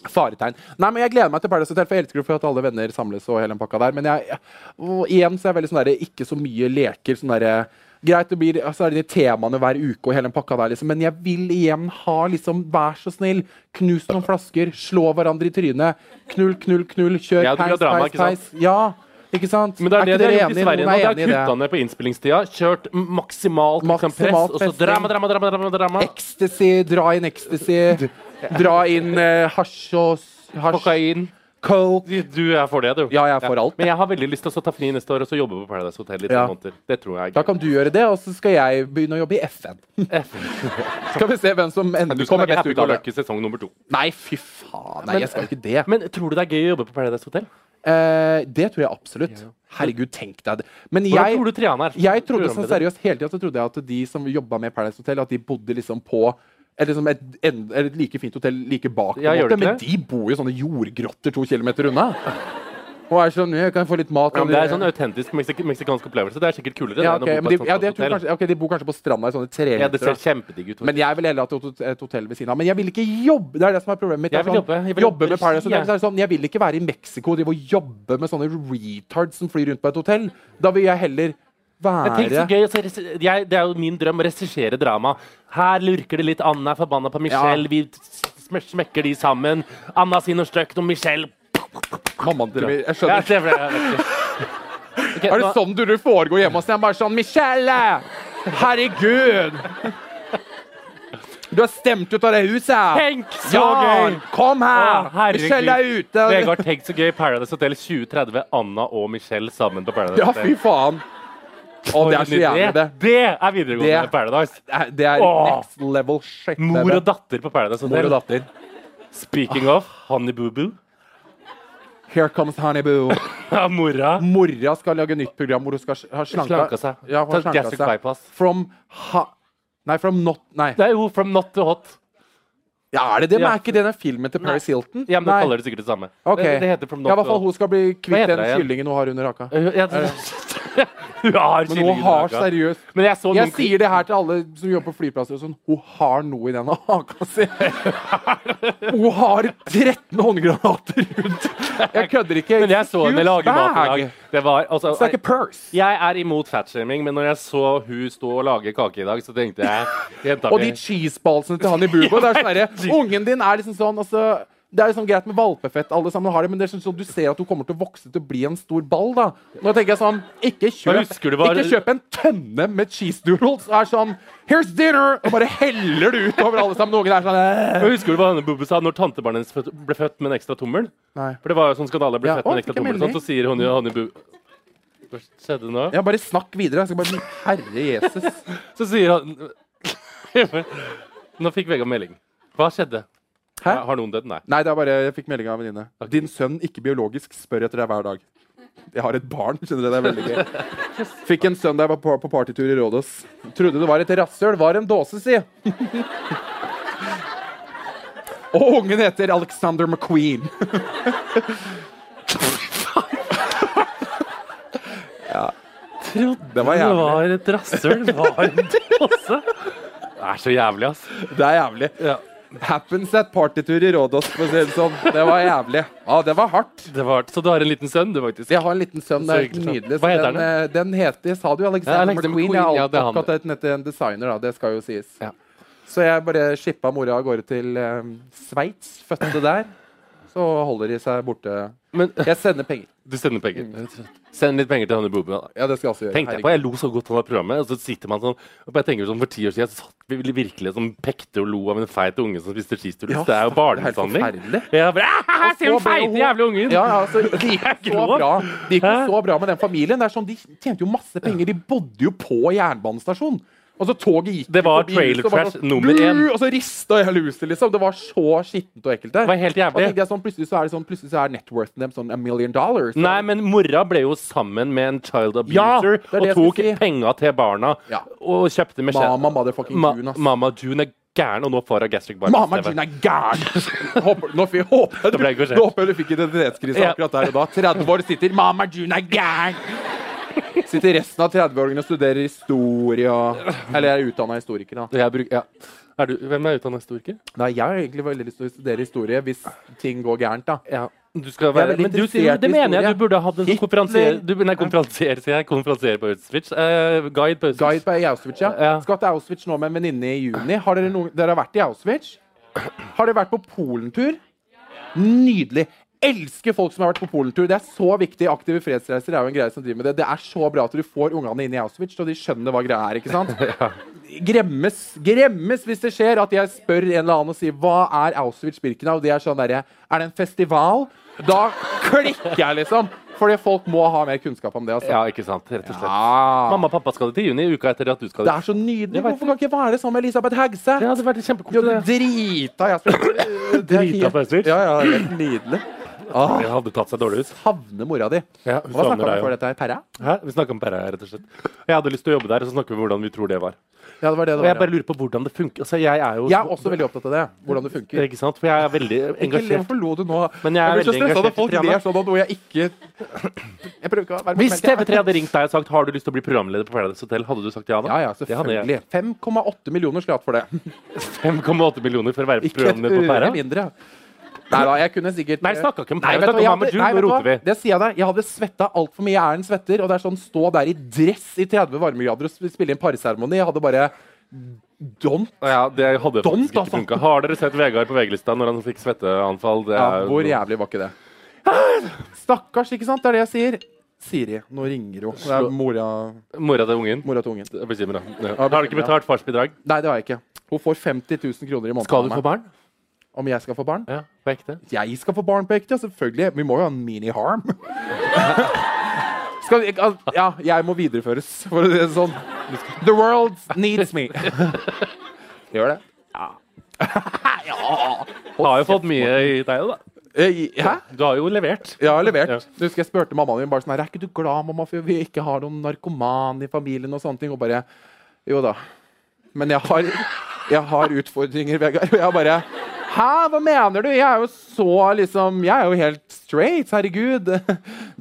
[SPEAKER 2] Faretegn. Nei, men Jeg gleder meg til Paradise Hotel, for jeg elsker jo for at alle venner samles. og hele den pakka der, Men jeg, jeg- og igjen så er jeg veldig sånn derre ikke så mye leker. sånn derre Greit, det blir, altså er det de temaene hver uke og hele den pakka der, liksom. Men jeg vil igjen ha liksom Vær så snill, knus noen flasker, slå hverandre i trynet. Knull, knull, knull. Kjør
[SPEAKER 5] Ja, det blir jo drama, ikke sant?
[SPEAKER 2] Ja, ikke sant?
[SPEAKER 5] Men det er, det de har gjort i
[SPEAKER 2] Noen er
[SPEAKER 5] Sverige nå. De
[SPEAKER 2] enig i
[SPEAKER 5] har
[SPEAKER 2] det.
[SPEAKER 5] kutta ned på innspillingstida, kjørt m- maksimalt, liksom, press,
[SPEAKER 2] Maksimalt
[SPEAKER 5] og så
[SPEAKER 2] pressing.
[SPEAKER 5] drama, drama, drama, drama, drama.
[SPEAKER 2] Ecstasy, dra inn ecstasy. Dra inn eh, hasj og s- hasj,
[SPEAKER 5] Kokain.
[SPEAKER 2] coke.
[SPEAKER 5] Du- Du er for det, du.
[SPEAKER 2] Ja, jeg er for alt.
[SPEAKER 5] Men jeg har veldig lyst til å ta fri neste år og så jobbe på Paradise Hotel i tre
[SPEAKER 2] Ja.
[SPEAKER 5] måneder. Det tror jeg er
[SPEAKER 2] Da
[SPEAKER 5] gøy.
[SPEAKER 2] kan du gjøre det, og så skal jeg begynne å jobbe i FN. skal vi se hvem som
[SPEAKER 5] Du
[SPEAKER 2] endelig
[SPEAKER 5] skal
[SPEAKER 2] kommer
[SPEAKER 5] være
[SPEAKER 2] best
[SPEAKER 5] Happy
[SPEAKER 2] ut
[SPEAKER 5] Go
[SPEAKER 2] av det.
[SPEAKER 5] Lucky sesong nummer to.
[SPEAKER 2] Nei, fy faen. Nei, jeg skal ikke det.
[SPEAKER 5] Men tror du det er gøy å jobbe på Paradise Hotel?
[SPEAKER 2] Eh, det tror jeg absolutt. Herregud, tenk deg det. Men
[SPEAKER 5] Hvordan
[SPEAKER 2] jeg
[SPEAKER 5] tror du Triana er?
[SPEAKER 2] Jeg trodde sånn
[SPEAKER 5] Programleder.
[SPEAKER 2] seriøst hele tiden så trodde jeg at de som jobba med Paradise Hotel, at de bodde liksom på eller liksom et, en, eller et like fint hotell like bak. på en
[SPEAKER 5] Ja, gjør
[SPEAKER 2] måte.
[SPEAKER 5] de
[SPEAKER 2] Men
[SPEAKER 5] ikke
[SPEAKER 2] de bor jo i sånne jordgrotter to kilometer unna. Og er sånn «Ja, Kan jeg få litt mat?
[SPEAKER 5] Ja, men det er
[SPEAKER 2] eller-
[SPEAKER 5] sånn autentisk meksik meksikansk opplevelse. Det er sikkert kulere.
[SPEAKER 2] ja,
[SPEAKER 5] det,
[SPEAKER 2] ok,
[SPEAKER 5] enn å bo på
[SPEAKER 2] men de,
[SPEAKER 5] et sånt
[SPEAKER 2] ja, det tror jeg kanskje,
[SPEAKER 5] hotell.
[SPEAKER 2] ok, de bor kanskje på stranda i sånne
[SPEAKER 5] ja, det
[SPEAKER 2] treretter.
[SPEAKER 5] ser kjempedigg ut.
[SPEAKER 2] Men jeg vil heller ha et hot- et hotell ved siden av. Men jeg vil ikke jobbe! Det er det som er problemet mitt. Det er
[SPEAKER 5] Jeg vil
[SPEAKER 2] sånn,
[SPEAKER 5] jobbe. Jeg vil
[SPEAKER 2] jobbe
[SPEAKER 5] jobbe
[SPEAKER 2] med Paradise
[SPEAKER 5] regi,
[SPEAKER 2] Hotel. Så er det sånn, jeg vil ikke være i Mexico og drive og jobbe med sånne retards som flyr rundt på et hotell. Da vil jeg heller
[SPEAKER 5] Men tenk så
[SPEAKER 2] være
[SPEAKER 5] gøy, altså, regi- jeg, Det er jo min drøm å regissere drama. Her lurker det litt. Anna er forbanna på Michelle.
[SPEAKER 2] Ja.
[SPEAKER 5] Vi sm smekker de sammen. Anna sier noe stygt om Michelle.
[SPEAKER 2] Mammaen til meg. Jeg
[SPEAKER 5] Ja,
[SPEAKER 2] skjønner. [laughs]
[SPEAKER 5] det ble, jeg vet ikke. Ok,
[SPEAKER 2] Er det
[SPEAKER 5] nå-
[SPEAKER 2] sånn du du foregår hjemme hos deg? Jeg er Bare sånn Michelle! Herregud! Du er stemt ut av det huset!
[SPEAKER 5] Tenk så
[SPEAKER 2] Jan,
[SPEAKER 5] gøy!
[SPEAKER 2] kom her!
[SPEAKER 5] Å, herregud.
[SPEAKER 2] Michelle er ute!
[SPEAKER 5] Vegard, tenk så gøy Paradise Hotel 2030. Anna og Michelle sammen på Paradise
[SPEAKER 2] Ja, fy
[SPEAKER 5] Hotel.
[SPEAKER 2] faen. Å, det er så jævlig, det.
[SPEAKER 5] det er videregående
[SPEAKER 2] Det-
[SPEAKER 5] Paradise.
[SPEAKER 2] Det er- Det er
[SPEAKER 5] Åh.
[SPEAKER 2] next level shit.
[SPEAKER 5] Mor
[SPEAKER 2] det er
[SPEAKER 5] og datter på Paradise
[SPEAKER 2] Mor og
[SPEAKER 5] Hotel.
[SPEAKER 2] datter.
[SPEAKER 5] Speaking of Honey Boo [laughs] Boo.
[SPEAKER 2] Here comes Honeyboo.
[SPEAKER 5] Ja, mora.
[SPEAKER 2] Mora skal lage nytt program hvor hun skal ha slanka,
[SPEAKER 5] Slanka seg.
[SPEAKER 2] Ja, hun har
[SPEAKER 5] Ta
[SPEAKER 2] slanka
[SPEAKER 5] gastric
[SPEAKER 2] seg.
[SPEAKER 5] bypass.
[SPEAKER 2] From ha... Nei, from not... Nei.
[SPEAKER 5] Det er jo From Not to Hot.
[SPEAKER 2] Ja, er det det? Men
[SPEAKER 5] Ja.
[SPEAKER 2] er ikke det den filmen til Paris Hilton?
[SPEAKER 5] Ja, men
[SPEAKER 2] Nei.
[SPEAKER 5] Du kaller det sikkert det samme.
[SPEAKER 2] Ok.
[SPEAKER 5] Det, det heter From Not
[SPEAKER 2] Ja, i hvert fall
[SPEAKER 5] to Hot.
[SPEAKER 2] hun skal bli kvitt
[SPEAKER 5] heter
[SPEAKER 2] den
[SPEAKER 5] det igjen?
[SPEAKER 2] kyllingen hun har under haka.
[SPEAKER 5] Uh, ja, [laughs] det- Hun har
[SPEAKER 2] Men hun
[SPEAKER 5] kyllingen i
[SPEAKER 2] har
[SPEAKER 5] haka.
[SPEAKER 2] seriøst
[SPEAKER 5] Men jeg så
[SPEAKER 2] Jeg
[SPEAKER 5] noen
[SPEAKER 2] sier det her til alle som jobber på flyplasser og sånn. Hun har noe i den haka
[SPEAKER 5] [laughs]
[SPEAKER 2] si. Hun har 13 håndgranater rundt. Jeg kødder ikke.
[SPEAKER 5] Men jeg så henne lage mat i dag. Det var, altså,
[SPEAKER 2] Så det er ikke purse.
[SPEAKER 5] jeg er imot fatshaming, men når jeg så hun stå og lage kake i dag, så
[SPEAKER 2] [laughs]
[SPEAKER 5] tenkte jeg jenta
[SPEAKER 2] Og
[SPEAKER 5] mi
[SPEAKER 2] de cheeseballsene til han i bubo. Det er
[SPEAKER 5] [laughs]
[SPEAKER 2] sånn derre, Ungen din er liksom sånn altså, Det er liksom greit med valpefett, alle sammen har det, men det er sånn, sånn, du ser at hun kommer til å vokse til å bli en stor ball. da. Nå tenker jeg sånn Ikke
[SPEAKER 5] Men
[SPEAKER 2] kjøp,
[SPEAKER 5] husker du bare-
[SPEAKER 2] ikke kjøp en tønne med cheese doodles. Det er sånn Here's dinner! Og bare heller det ut over alle sammen. Og Ungen er sånn
[SPEAKER 5] Men
[SPEAKER 2] «Æ».
[SPEAKER 5] Husker du hva denne Bubbe sa når tantebarnet hennes født- ble født med en ekstra tommel?
[SPEAKER 2] Nei.
[SPEAKER 5] For det var jo sånn skandale. Ble
[SPEAKER 2] Ja,
[SPEAKER 5] født med
[SPEAKER 2] å,
[SPEAKER 5] en ekstra
[SPEAKER 2] fikk en
[SPEAKER 5] tommel, sånn,
[SPEAKER 2] melding.
[SPEAKER 5] så sier hun jo Honey Boo Hva skjedde nå?
[SPEAKER 2] Ja, bare snakk videre. Jeg skal bare, Herre Jesus.
[SPEAKER 5] Så sier han [laughs] Nå fikk Vegard melding. Hva skjedde?
[SPEAKER 2] Hæ?
[SPEAKER 5] Har noen dødd? Nei.
[SPEAKER 2] Nei, det er bare, jeg fikk melding av en venninne. Din sønn, ikke biologisk, spør etter deg hver dag. Jeg har et barn, skjønner du. Det er veldig gøy. Fikk en sønn da jeg var på, på partytur i Rådås. Trodde det var et rasshøl. Var en dåse, si. Og ungen heter Alexander McQueen. [laughs]
[SPEAKER 5] Trodde
[SPEAKER 2] Det var
[SPEAKER 5] det
[SPEAKER 2] jævlig.
[SPEAKER 5] var et rasshøl. Det var en dåse. Det er så jævlig, ass.
[SPEAKER 2] Det er jævlig.
[SPEAKER 5] Ja.
[SPEAKER 2] Happens at partytur i Rådås, for å si det sånn. Det var jævlig. Ja, det var hardt.
[SPEAKER 5] Det var, så du har en liten sønn, du, faktisk?
[SPEAKER 2] Jeg har en liten sønn. Det er helt
[SPEAKER 5] Så hyggelig.
[SPEAKER 2] nydelig.
[SPEAKER 5] Hva heter
[SPEAKER 2] den? eh, Den heter, sa du, Alexander,
[SPEAKER 5] Ja, Alexander
[SPEAKER 2] McQueen.
[SPEAKER 5] McQueen,
[SPEAKER 2] Jeg
[SPEAKER 5] ja,
[SPEAKER 2] har
[SPEAKER 5] det er han.
[SPEAKER 2] oppkalt at den heter en designer, da. Det skal jo sies.
[SPEAKER 5] Ja.
[SPEAKER 2] Så jeg bare shippa mora av gårde til eh, Sveits, fødte der. Så holder de seg borte.
[SPEAKER 5] Men
[SPEAKER 2] Jeg sender penger.
[SPEAKER 5] du sender penger. Send litt penger til Honey Boo Boo. da.
[SPEAKER 2] Ja, det skal jeg også gjøre.
[SPEAKER 5] Tenkte jeg på, jeg lo så godt av det programmet. Og så sitter man sånn og bare tenker sånn, For ti år siden så satt vi virkelig sånn pekte og lo av en feit unge som spiste cheesedoodles.
[SPEAKER 2] Ja,
[SPEAKER 5] det er jo barnemishandling.
[SPEAKER 2] Herregud.
[SPEAKER 5] Jeg bare, «Ah,
[SPEAKER 2] Og så
[SPEAKER 5] Se den
[SPEAKER 2] ble jo
[SPEAKER 5] feite
[SPEAKER 2] hun-
[SPEAKER 5] jævla ungen!
[SPEAKER 2] Ja, ja, altså, det
[SPEAKER 5] [laughs]
[SPEAKER 2] gikk
[SPEAKER 5] Jeg
[SPEAKER 2] så
[SPEAKER 5] grov.
[SPEAKER 2] bra. Det gikk jo
[SPEAKER 5] Hæ?
[SPEAKER 2] så bra med den familien. Det er sånn, de tjente jo masse penger. De bodde jo på jernbanestasjonen. Og så toget gikk
[SPEAKER 5] Det var
[SPEAKER 2] forbi huset,
[SPEAKER 5] trailer
[SPEAKER 2] og bare
[SPEAKER 5] trash
[SPEAKER 2] sånn,
[SPEAKER 5] nummer én.
[SPEAKER 2] «Buh!» Og så rista jeg luset, liksom. Det var så skittent og ekkelt der.
[SPEAKER 5] Det var helt
[SPEAKER 2] Og
[SPEAKER 5] jævlig.
[SPEAKER 2] tenkte jeg sånn, plutselig så er det sånn, plutselig så er networthen dem sånn a million dollars.
[SPEAKER 5] Nei, men mora ble jo sammen med en child
[SPEAKER 2] Ja,
[SPEAKER 5] abuser
[SPEAKER 2] det er det
[SPEAKER 5] og
[SPEAKER 2] jeg
[SPEAKER 5] tok
[SPEAKER 2] skulle si.
[SPEAKER 5] penga til barna
[SPEAKER 2] Ja.
[SPEAKER 5] og kjøpte med
[SPEAKER 2] Mama motherfucking
[SPEAKER 5] Ma
[SPEAKER 2] June, ass.
[SPEAKER 5] Mama June er gæren, og nå får hun gastric bypass.
[SPEAKER 2] Mamma Jean er
[SPEAKER 5] [laughs]
[SPEAKER 2] gæren! Håper- Nå fikk- håper jeg
[SPEAKER 5] Det ble ikke
[SPEAKER 2] du-
[SPEAKER 5] skjedd.
[SPEAKER 2] nå håper jeg du fikk identitetskrise
[SPEAKER 5] Ja.
[SPEAKER 2] akkurat der og da. 30 år sitter Mamma Jean er gæren! Sitter resten av 30-åringene og studerer historie og Eller jeg er utdanna historiker, da.
[SPEAKER 5] Jeg bruk, ja. er du, hvem er utdanna historiker?
[SPEAKER 2] Nei, jeg har egentlig veldig lyst til å studere historie hvis ting går gærent, da.
[SPEAKER 5] Du skal
[SPEAKER 2] Jeg
[SPEAKER 5] være,
[SPEAKER 2] er veldig
[SPEAKER 5] men du, sier-
[SPEAKER 2] interessert i
[SPEAKER 5] det mener jeg
[SPEAKER 2] historie.
[SPEAKER 5] du burde hatt en sånn
[SPEAKER 2] Hitler.
[SPEAKER 5] konferansier... Du, nei, konferansier, sier jeg. Konferansier på Auschwitz. Eh, guide på
[SPEAKER 2] Guide
[SPEAKER 5] Auschwitz.
[SPEAKER 2] på Auschwitz, ja.
[SPEAKER 5] Ja.
[SPEAKER 2] Skal til Auschwitz nå med en venninne i juni. Har dere, noen, dere har vært i Auschwitz? Har dere vært på Polentur? Nydelig. Elsker folk som har vært på Polentur. Det er så viktig. Aktive fredsreiser er jo en greie som driver med det. Det er så bra at du får ungene inn i Auschwitz, så de skjønner hva greia er. ikke
[SPEAKER 5] [laughs]
[SPEAKER 2] sant? Gremmes gremmes hvis det skjer at jeg spør en eller annen og sier hva er Auschwitz-Birkenau? Og de er sånn derre Er det en festival? Da klikker jeg, liksom. Fordi folk må ha mer kunnskap om det. altså.
[SPEAKER 5] Ja, ikke sant. Rett og slett.
[SPEAKER 2] Ah.
[SPEAKER 5] Mamma og pappa skal det til juni, uka etter at du skal
[SPEAKER 2] Det
[SPEAKER 5] dit.
[SPEAKER 2] er så nydelig. Hvorfor kan ikke jeg være sammen med Elisabeth Hegseth?
[SPEAKER 5] Det hadde vært
[SPEAKER 2] Ja, du
[SPEAKER 5] kjempekoselig. det.
[SPEAKER 2] drita jeg spiller. Det er helt-
[SPEAKER 5] Drita på Auschwitz?
[SPEAKER 2] Ja, ja, helt nydelig.
[SPEAKER 5] Ah. Det hadde tatt seg dårlig ut.
[SPEAKER 2] Havne mora di. Hva
[SPEAKER 5] Ja, savner
[SPEAKER 2] snakka
[SPEAKER 5] deg
[SPEAKER 2] vi
[SPEAKER 5] jo.
[SPEAKER 2] for dette her? Perra?
[SPEAKER 5] Hæ? Vi snakka om Perra, rett og slett. Jeg hadde lyst til å jobbe der, og så snakker vi om hvordan vi tror det var.
[SPEAKER 2] Ja, det var det
[SPEAKER 5] Og
[SPEAKER 2] det
[SPEAKER 5] jeg
[SPEAKER 2] var.
[SPEAKER 5] bare
[SPEAKER 2] ja.
[SPEAKER 5] lurer på hvordan det funker. Altså, jeg er jo
[SPEAKER 2] Jeg er også veldig opptatt av det. Hvordan det funker.
[SPEAKER 5] Ikke sant? For jeg er veldig
[SPEAKER 2] Ikke le-
[SPEAKER 5] engasjert.
[SPEAKER 2] Hvorfor lo du nå?
[SPEAKER 5] Men jeg er
[SPEAKER 2] blir så
[SPEAKER 5] veldig
[SPEAKER 2] stresset når
[SPEAKER 5] engasjert
[SPEAKER 2] folk
[SPEAKER 5] i programmet.
[SPEAKER 2] ler sånn at noe jeg ikke Jeg prøver ikke å være
[SPEAKER 5] Hvis
[SPEAKER 2] morsom, jeg.
[SPEAKER 5] TV3 hadde ringt deg og sagt har du lyst til å bli programleder på Paradise Hotel, hadde du sagt ja da?
[SPEAKER 2] Ja, ja,
[SPEAKER 5] Det hadde jeg.
[SPEAKER 2] selvfølgelig. 5,8 millioner skulle jeg hatt for det.
[SPEAKER 5] 5,8 millioner for å være
[SPEAKER 2] Ikke et
[SPEAKER 5] programleder på
[SPEAKER 2] øre
[SPEAKER 5] Perra?
[SPEAKER 2] mindre. Nei da, jeg kunne sikkert
[SPEAKER 5] Nei, snakka ikke om
[SPEAKER 2] Nei,
[SPEAKER 5] Perra.
[SPEAKER 2] vet du hva,
[SPEAKER 5] Snakka
[SPEAKER 2] jeg
[SPEAKER 5] om
[SPEAKER 2] hadde,
[SPEAKER 5] Amadou,
[SPEAKER 2] nei, vet
[SPEAKER 5] nå
[SPEAKER 2] du hva,
[SPEAKER 5] roter vi.
[SPEAKER 2] det sier jeg deg. Jeg hadde svetta altfor mye. Jeg er en svetter. Og det er sånn stå der i dress i 30 varmegrader og sp- spille i en parseremoni. Jeg hadde bare Don't.
[SPEAKER 5] Ja, det hadde
[SPEAKER 2] Dumt,
[SPEAKER 5] faktisk
[SPEAKER 2] altså.
[SPEAKER 5] ikke funka. Har dere sett Vegard på VG-lista når han fikk svetteanfall? Det
[SPEAKER 2] Ja,
[SPEAKER 5] er jo-
[SPEAKER 2] hvor jævlig var ikke det? Stakkars, ikke sant? Det er det jeg sier. Siri, nå ringer hun. Det er mora,
[SPEAKER 5] Mora til ungen?
[SPEAKER 2] mora til ungen.
[SPEAKER 5] Bekymra. Ja. Har du ikke betalt farsbidrag?
[SPEAKER 2] Nei, det har jeg ikke. Hun får 50 000 kroner i måneden.
[SPEAKER 5] Skal du
[SPEAKER 2] av meg.
[SPEAKER 5] få barn?
[SPEAKER 2] Om jeg skal få barn?
[SPEAKER 5] Ja, på ekte.
[SPEAKER 2] Jeg skal få barn på ekte, ja, selvfølgelig. Vi må jo ha en mini-harm. skal vi, al- ja, jeg må videreføres, for å si det sånn. The world needs me. Gjør det?
[SPEAKER 5] Har jo fått mye i deg, da.
[SPEAKER 2] Eh, Hæ?
[SPEAKER 5] Du har jo levert.
[SPEAKER 2] Jeg har levert.
[SPEAKER 5] Ja.
[SPEAKER 2] Jeg husker jeg spurte mammaen min bare sånn her, er ikke du glad, mamma, for vi ikke har noen narkoman i familien og sånne ting? Og bare, jo da. Men jeg har, jeg har utfordringer, Vegard. Og jeg bare, hæ, hva mener du? Jeg er jo så liksom, jeg er jo helt straight, herregud.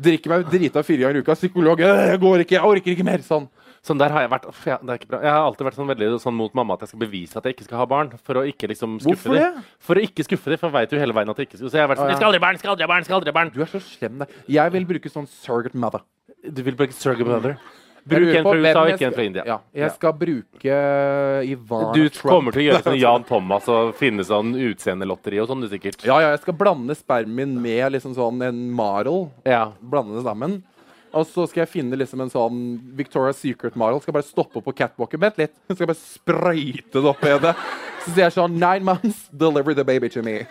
[SPEAKER 2] Drikker meg drita fire ganger i uka, psykolog, øh, jeg går ikke, jeg orker ikke mer, sånn.
[SPEAKER 5] Sånn der har jeg vært. Uff, ja, det er ikke bra. Jeg har alltid vært sånn veldig sånn mot mamma at jeg skal bevise at jeg ikke skal ha barn. For å ikke liksom skuffe
[SPEAKER 2] Hvorfor
[SPEAKER 5] dem.
[SPEAKER 2] det?
[SPEAKER 5] For å ikke skuffe dem, for jeg veit jo hele veien at jeg ikke skal. Så jeg har vært sånn, jeg skal aldri ha barn, skal aldri ha barn, skal aldri ha barn.
[SPEAKER 2] Du er så slem, deg. Jeg vil bruke sånn surrogate mother.
[SPEAKER 5] Du vil bruke surrogate mother.
[SPEAKER 2] Jeg
[SPEAKER 5] Bruk
[SPEAKER 2] lurer
[SPEAKER 5] en
[SPEAKER 2] på
[SPEAKER 5] fra USA
[SPEAKER 2] hvem
[SPEAKER 5] og
[SPEAKER 2] jeg
[SPEAKER 5] ikke en
[SPEAKER 2] skal-
[SPEAKER 5] fra India.
[SPEAKER 2] Ja, jeg skal bruke Ivana
[SPEAKER 5] Du
[SPEAKER 2] Trump.
[SPEAKER 5] kommer til å gjøre sånn
[SPEAKER 2] [laughs]
[SPEAKER 5] Jan Thomas og finne sånn utseendelotteri og sånn, du sikkert.
[SPEAKER 2] Ja, ja, jeg skal blande spermien med liksom sånn en marel.
[SPEAKER 5] Ja.
[SPEAKER 2] Blande det sammen. Og så skal jeg finne liksom en sånn Victoria's Secret-marel. Skal bare stoppe opp på catwalken. Vent litt. Skal bare sprøyte det opp i henne. Så sier jeg sånn Nine months, deliver the baby to me.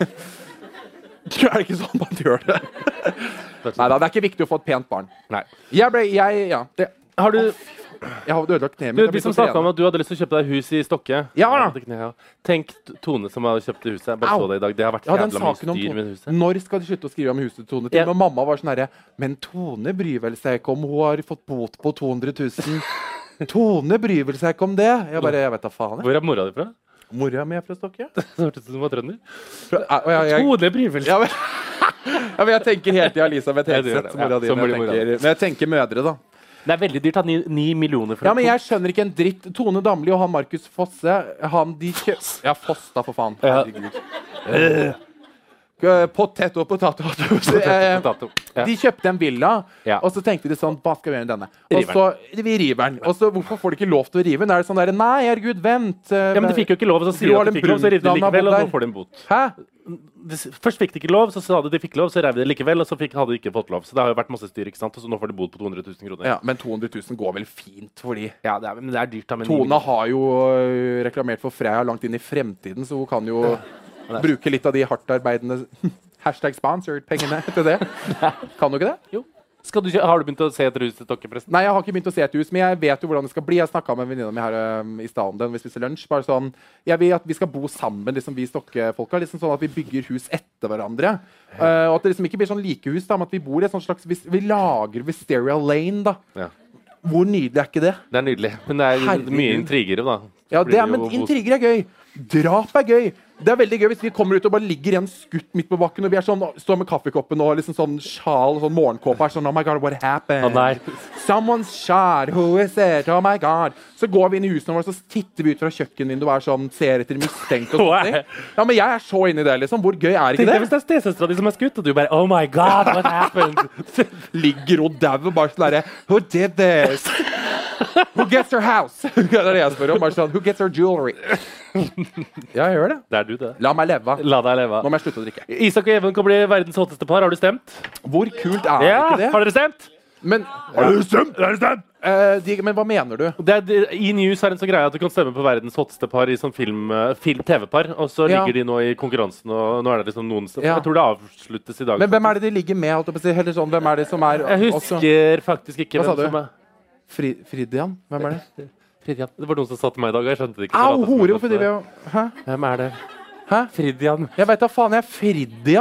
[SPEAKER 2] [laughs] Tror jeg det ikke sånn man gjør det. Nei da, det er ikke viktig å få et pent barn.
[SPEAKER 5] Nei.
[SPEAKER 2] Jeg ble jeg, Ja. Det,
[SPEAKER 5] Har du,
[SPEAKER 2] jeg har ødelagt kneet
[SPEAKER 5] du,
[SPEAKER 2] mitt. Jeg
[SPEAKER 5] de
[SPEAKER 2] blir
[SPEAKER 5] som
[SPEAKER 2] så
[SPEAKER 5] snakka om
[SPEAKER 2] trent.
[SPEAKER 5] at du hadde lyst til å kjøpe deg hus i Stokke
[SPEAKER 2] Ja.
[SPEAKER 5] det kneet, ja. Tenk T- Tone som har kjøpt det huset. Jeg bare
[SPEAKER 2] Au.
[SPEAKER 5] så det i dag. Det har vært
[SPEAKER 2] Ja, den
[SPEAKER 5] jævla mye
[SPEAKER 2] saken om
[SPEAKER 5] styr med det
[SPEAKER 2] Tone.
[SPEAKER 5] huset.
[SPEAKER 2] Når skal de slutte å skrive om huset til Tone? Til og med mamma var sånn herre Men Tone bryr vel seg ikke om hun har fått bot på 200
[SPEAKER 5] [laughs]
[SPEAKER 2] 000. Tone bryr vel seg ikke om det. Jeg bare, jeg vet da faen. jeg.
[SPEAKER 5] Hvor er mora di fra?
[SPEAKER 2] Mora mi er fra
[SPEAKER 5] [laughs]
[SPEAKER 2] Stokke.
[SPEAKER 5] Det hørtes ut som hun var trønder.
[SPEAKER 2] Fra- og jeg, jeg,
[SPEAKER 5] Hodet bryr vel
[SPEAKER 2] ja, men, ja, men jeg tenker helt til Elisabeth
[SPEAKER 5] [laughs] Ja, du gjør
[SPEAKER 2] Hegseth,
[SPEAKER 5] det.
[SPEAKER 2] mora
[SPEAKER 5] Ja,
[SPEAKER 2] di.
[SPEAKER 5] som
[SPEAKER 2] Når jeg,
[SPEAKER 5] blir mora
[SPEAKER 2] tenker, når jeg tenker mødre, da.
[SPEAKER 5] Det er veldig dyrt. Ni, ni millioner for
[SPEAKER 2] Ja,
[SPEAKER 5] en
[SPEAKER 2] men
[SPEAKER 5] to.
[SPEAKER 2] jeg skjønner ikke en dritt. Tone Damli og han Markus Fosse han de kjø... Ja, Foss, da, for faen. Herregud. Eh, [laughs] Potet og potato. Eh,
[SPEAKER 5] Potato. Ja.
[SPEAKER 2] De kjøpte en villa,
[SPEAKER 5] Ja.
[SPEAKER 2] og så tenkte de sånn Hva skal vi gjøre med denne? Og
[SPEAKER 5] River
[SPEAKER 2] så, vi river den. Og så hvorfor får de ikke lov til å rive den? Er det sånn der Nei, herregud, vent. eh,
[SPEAKER 5] Ja, men de fikk jo ikke lov, og så sier de at de fikk lov, så rev de likevel, og nå får de en bot.
[SPEAKER 2] Hæ?
[SPEAKER 5] De s- Først fikk de ikke lov, så sa de de fikk lov, så rev de likevel, og så fikk, hadde de ikke fått lov. Så det har jo vært masse styr, ikke sant? Og så nå får de bot på 200 000 kroner.
[SPEAKER 2] Ja, men 200 000 går vel fint, fordi
[SPEAKER 5] Ja, det er, men det er dyrt, da. Men
[SPEAKER 2] Tone har jo ø, reklamert for Freia langt inn i fremtiden, så hun kan jo bruke litt av de hardtarbeidende [laughs] Hashtag sponsored-pengene til det. Kan du ikke det?
[SPEAKER 5] Jo. Skal du, kjø- har du begynt å se etter hus til Tokke, forresten?
[SPEAKER 2] Nei, jeg har ikke begynt å se et hus, men jeg vet jo hvordan det skal bli. Jeg snakka med en venninne mi her øhm, i stad om det. når Vi spiste lunsj. Bare sånn Jeg vil at vi skal bo sammen, liksom vi stokkefolka. Liksom sånn at vi bygger hus etter hverandre. Eh, og at det liksom ikke blir sånn likehus, da, men at vi bor i et sånt slags Vi, vi lager Wisteria Lane, da.
[SPEAKER 5] Ja.
[SPEAKER 2] Hvor nydelig er ikke det?
[SPEAKER 5] Det er nydelig. Men det er
[SPEAKER 2] Herregud.
[SPEAKER 5] mye intriger, da.
[SPEAKER 2] Ja,
[SPEAKER 5] Blir
[SPEAKER 2] det er,
[SPEAKER 5] jo
[SPEAKER 2] Men
[SPEAKER 5] bot-
[SPEAKER 2] intriger er gøy. Drap er gøy. Det er veldig gøy hvis vi kommer ut og bare ligger igjen skutt midt på bakken, og vi er sånn, står med kaffekoppen og liksom sånn sjal og sånn morgenkåpe er sånn Oh my God, what happened?
[SPEAKER 5] Å, nei.
[SPEAKER 2] Someone's shot, who is it? Oh my god. Så går vi inn i husene våre, så titter vi ut fra kjøkkenvinduet og er sånn, ser etter mistenkt
[SPEAKER 5] [laughs]
[SPEAKER 2] og sånne ting. Ja, men jeg er så inne i det, liksom. Hvor gøy er
[SPEAKER 5] Tenk
[SPEAKER 2] ikke
[SPEAKER 5] deg hvis
[SPEAKER 2] det?
[SPEAKER 5] det er stesøstera di som er skutt, og du bare Oh my God,
[SPEAKER 2] [laughs]
[SPEAKER 5] what happened?
[SPEAKER 2] Ligger hun dau og bare sånn derre Who did this? Who gets her house? [laughs] det er det jeg spør om. Bare sånn, Who gets her jewelry? Ja, jeg gjør det.
[SPEAKER 5] det er du, det.
[SPEAKER 2] La meg leve.
[SPEAKER 5] La deg leve.
[SPEAKER 2] Nå må jeg slutte å drikke.
[SPEAKER 5] Isak og Even kan bli verdens hotteste par. Har du stemt?
[SPEAKER 2] Hvor kult er
[SPEAKER 5] Ja,
[SPEAKER 2] ikke
[SPEAKER 5] Har
[SPEAKER 2] det?
[SPEAKER 5] dere stemt?
[SPEAKER 2] Men, Eh, de, men hva mener du?
[SPEAKER 5] Det er, det- I News er en sånn greie at du kan stemme på verdens hotteste par i sånn film, eh, film TV-par. Og så
[SPEAKER 2] Ja.
[SPEAKER 5] ligger de nå i konkurransen, og nå er det liksom noen som
[SPEAKER 2] Ja.
[SPEAKER 5] Jeg tror det avsluttes i dag.
[SPEAKER 2] Men hvem er det de ligger med? Holdt jeg på å si? Eller sånn, hvem er det som er
[SPEAKER 5] jeg
[SPEAKER 2] også-
[SPEAKER 5] husker faktisk ikke
[SPEAKER 2] Hva sa
[SPEAKER 5] hvem
[SPEAKER 2] du?
[SPEAKER 5] som er
[SPEAKER 2] Fri, Fridian? Hvem er det?
[SPEAKER 5] Fridian. Det var noen som sa til meg i dag, og jeg skjønte det ikke.
[SPEAKER 2] Au,
[SPEAKER 5] Jeg
[SPEAKER 2] hore!
[SPEAKER 5] pratet
[SPEAKER 2] Hvorfor
[SPEAKER 5] som jeg
[SPEAKER 2] driver jeg
[SPEAKER 5] pratet.
[SPEAKER 2] og Hæ?
[SPEAKER 5] Hvem er det?
[SPEAKER 2] Hæ?
[SPEAKER 5] Fridian.
[SPEAKER 2] Jeg veit da faen. Jeg er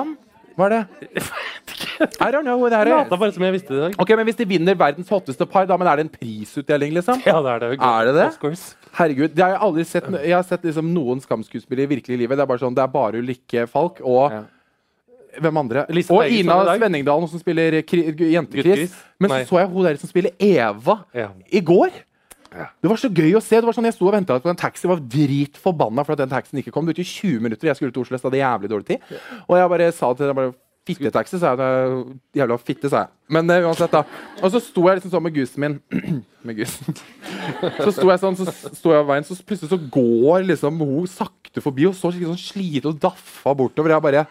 [SPEAKER 2] Fridian. Hva er
[SPEAKER 5] [laughs]
[SPEAKER 2] det? I don't know who det her
[SPEAKER 5] Lata
[SPEAKER 2] er.
[SPEAKER 5] bare som jeg visste det i dag.
[SPEAKER 2] Ok, men Hvis de vinner verdens hotteste par, da, men er det en prisutdeling, liksom?
[SPEAKER 5] Ja, det er det.
[SPEAKER 2] Er det det?
[SPEAKER 5] Oscars.
[SPEAKER 2] Herregud, det har jeg aldri sett no- Jeg har sett liksom noen skamskuespillere i virkelig livet. Det er bare sånn, det er bare Ulrikke Falk og
[SPEAKER 5] Ja.
[SPEAKER 2] Hvem andre?
[SPEAKER 5] Lise
[SPEAKER 2] og
[SPEAKER 5] Bergersen
[SPEAKER 2] Ina
[SPEAKER 5] i dag.
[SPEAKER 2] Svenningdalen, som spiller kri- gu- Jentekris.
[SPEAKER 5] Gutt-Chris?
[SPEAKER 2] Men så
[SPEAKER 5] Nei.
[SPEAKER 2] så jeg hun der som spiller Eva
[SPEAKER 5] Ja.
[SPEAKER 2] i går. Det var så gøy å se. det var sånn Jeg sto og venta på en taxi, var dritforbanna for at den taxien ikke kom. Det tok 20 minutter, jeg skulle til Oslo, så jeg hadde jævlig dårlig tid. Og jeg bare sa til dem bare Fittetaxi, sa jeg. da. Jævla fitte, sa jeg. Men eh, uansett, da. Og så sto jeg liksom sånn med gusen min [clears throat] Med gusen. Så sto jeg sånn, så sto jeg ved veien, så plutselig så går liksom hun sakte forbi og så skikkelig sånn sliten og daffa bortover. Jeg bare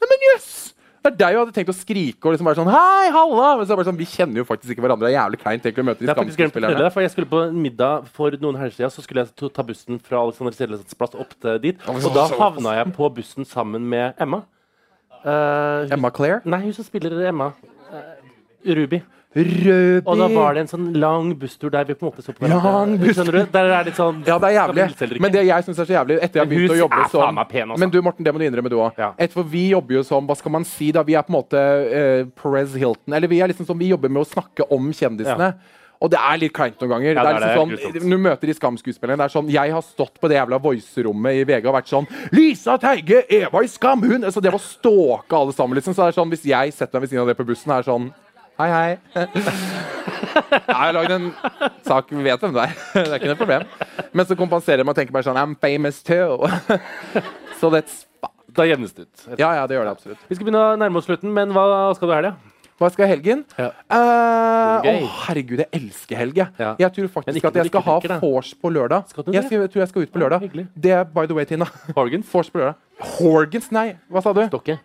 [SPEAKER 2] Nei, men jøss! Det er deg jeg hadde tenkt å skrike og liksom være sånn Hei, halla! Men så er det bare sånn, vi kjenner jo faktisk ikke hverandre. Det er jævlig kleint egentlig å møte de
[SPEAKER 5] Det er faktisk glemt å fortelle
[SPEAKER 2] skamskuespillerne.
[SPEAKER 5] deg, for jeg skulle på en middag for noen helger siden. Så skulle jeg ta- ta bussen fra Alexander Sedlesets plass opp til dit. Og da havna jeg på bussen sammen med Emma. Eh, hun,
[SPEAKER 2] Emma Claire?
[SPEAKER 5] nei, hun som spiller Emma. Eh, Ruby.
[SPEAKER 2] Rødby.
[SPEAKER 5] Og da var det en sånn lang busstur der vi på en måte så på
[SPEAKER 2] Lang busstur.
[SPEAKER 5] Skjønner du? Der er det sånn
[SPEAKER 2] Ja, det er
[SPEAKER 5] Skal vi hilse eller
[SPEAKER 2] jævlig.
[SPEAKER 5] ikke?
[SPEAKER 2] Men det jeg syns er så jævlig, etter jeg har
[SPEAKER 5] Men
[SPEAKER 2] begynt å
[SPEAKER 5] hus
[SPEAKER 2] jobbe
[SPEAKER 5] er faen
[SPEAKER 2] som
[SPEAKER 5] meg pen, altså.
[SPEAKER 2] Men du, Morten, det må du innrømme, du òg.
[SPEAKER 5] Ja.
[SPEAKER 2] For vi jobber jo som Hva skal man si, da? Vi er på en måte eh, Perez Hilton. Eller vi er liksom sånn Vi jobber med å snakke om kjendisene. Og det er litt kleint noen ganger.
[SPEAKER 5] Ja,
[SPEAKER 2] det er
[SPEAKER 5] det er
[SPEAKER 2] liksom
[SPEAKER 5] det.
[SPEAKER 2] sånn,
[SPEAKER 5] Grusomt.
[SPEAKER 2] Du møter de skamskuespillerne. Det er sånn Jeg har stått på det jævla voicerommet i VG og vært sånn Lisa Teige, Eva i Skam, hun Så det var stalke alle sammen, liksom. Så det er sånn Hvis jeg setter meg ved siden av det på bussen, er det sånn Hei, hei.
[SPEAKER 5] [laughs]
[SPEAKER 2] Jeg har lagd en sak, vi vet hvem du er. [laughs] Det er ikke noe problem. Men så kompenserer man og tenker bare sånn I'm famous too. [laughs] Så that's
[SPEAKER 5] Da jevnes det ut.
[SPEAKER 2] Ja, ja, det gjør det absolutt.
[SPEAKER 5] Vi skal begynne å nærme oss slutten, men hva skal du i helga?
[SPEAKER 2] Hva skal jeg i helgen? Å,
[SPEAKER 5] Ja. Gøy.
[SPEAKER 2] herregud, jeg elsker helg, jeg.
[SPEAKER 5] Ja.
[SPEAKER 2] Jeg tror
[SPEAKER 5] Men
[SPEAKER 2] faktisk
[SPEAKER 5] ikke
[SPEAKER 2] at jeg
[SPEAKER 5] når du
[SPEAKER 2] skal
[SPEAKER 5] ikke
[SPEAKER 2] ha
[SPEAKER 5] drikker, da.
[SPEAKER 2] vors på lørdag.
[SPEAKER 5] Skal du
[SPEAKER 2] Jeg,
[SPEAKER 5] det?
[SPEAKER 2] skal, jeg tror jeg skal ut på lørdag.
[SPEAKER 5] hyggelig.
[SPEAKER 2] Det er by the way, Tina.
[SPEAKER 5] Fargens?
[SPEAKER 2] Vors på lørdag. Horgans, nei. Hva sa du?
[SPEAKER 5] Stokke.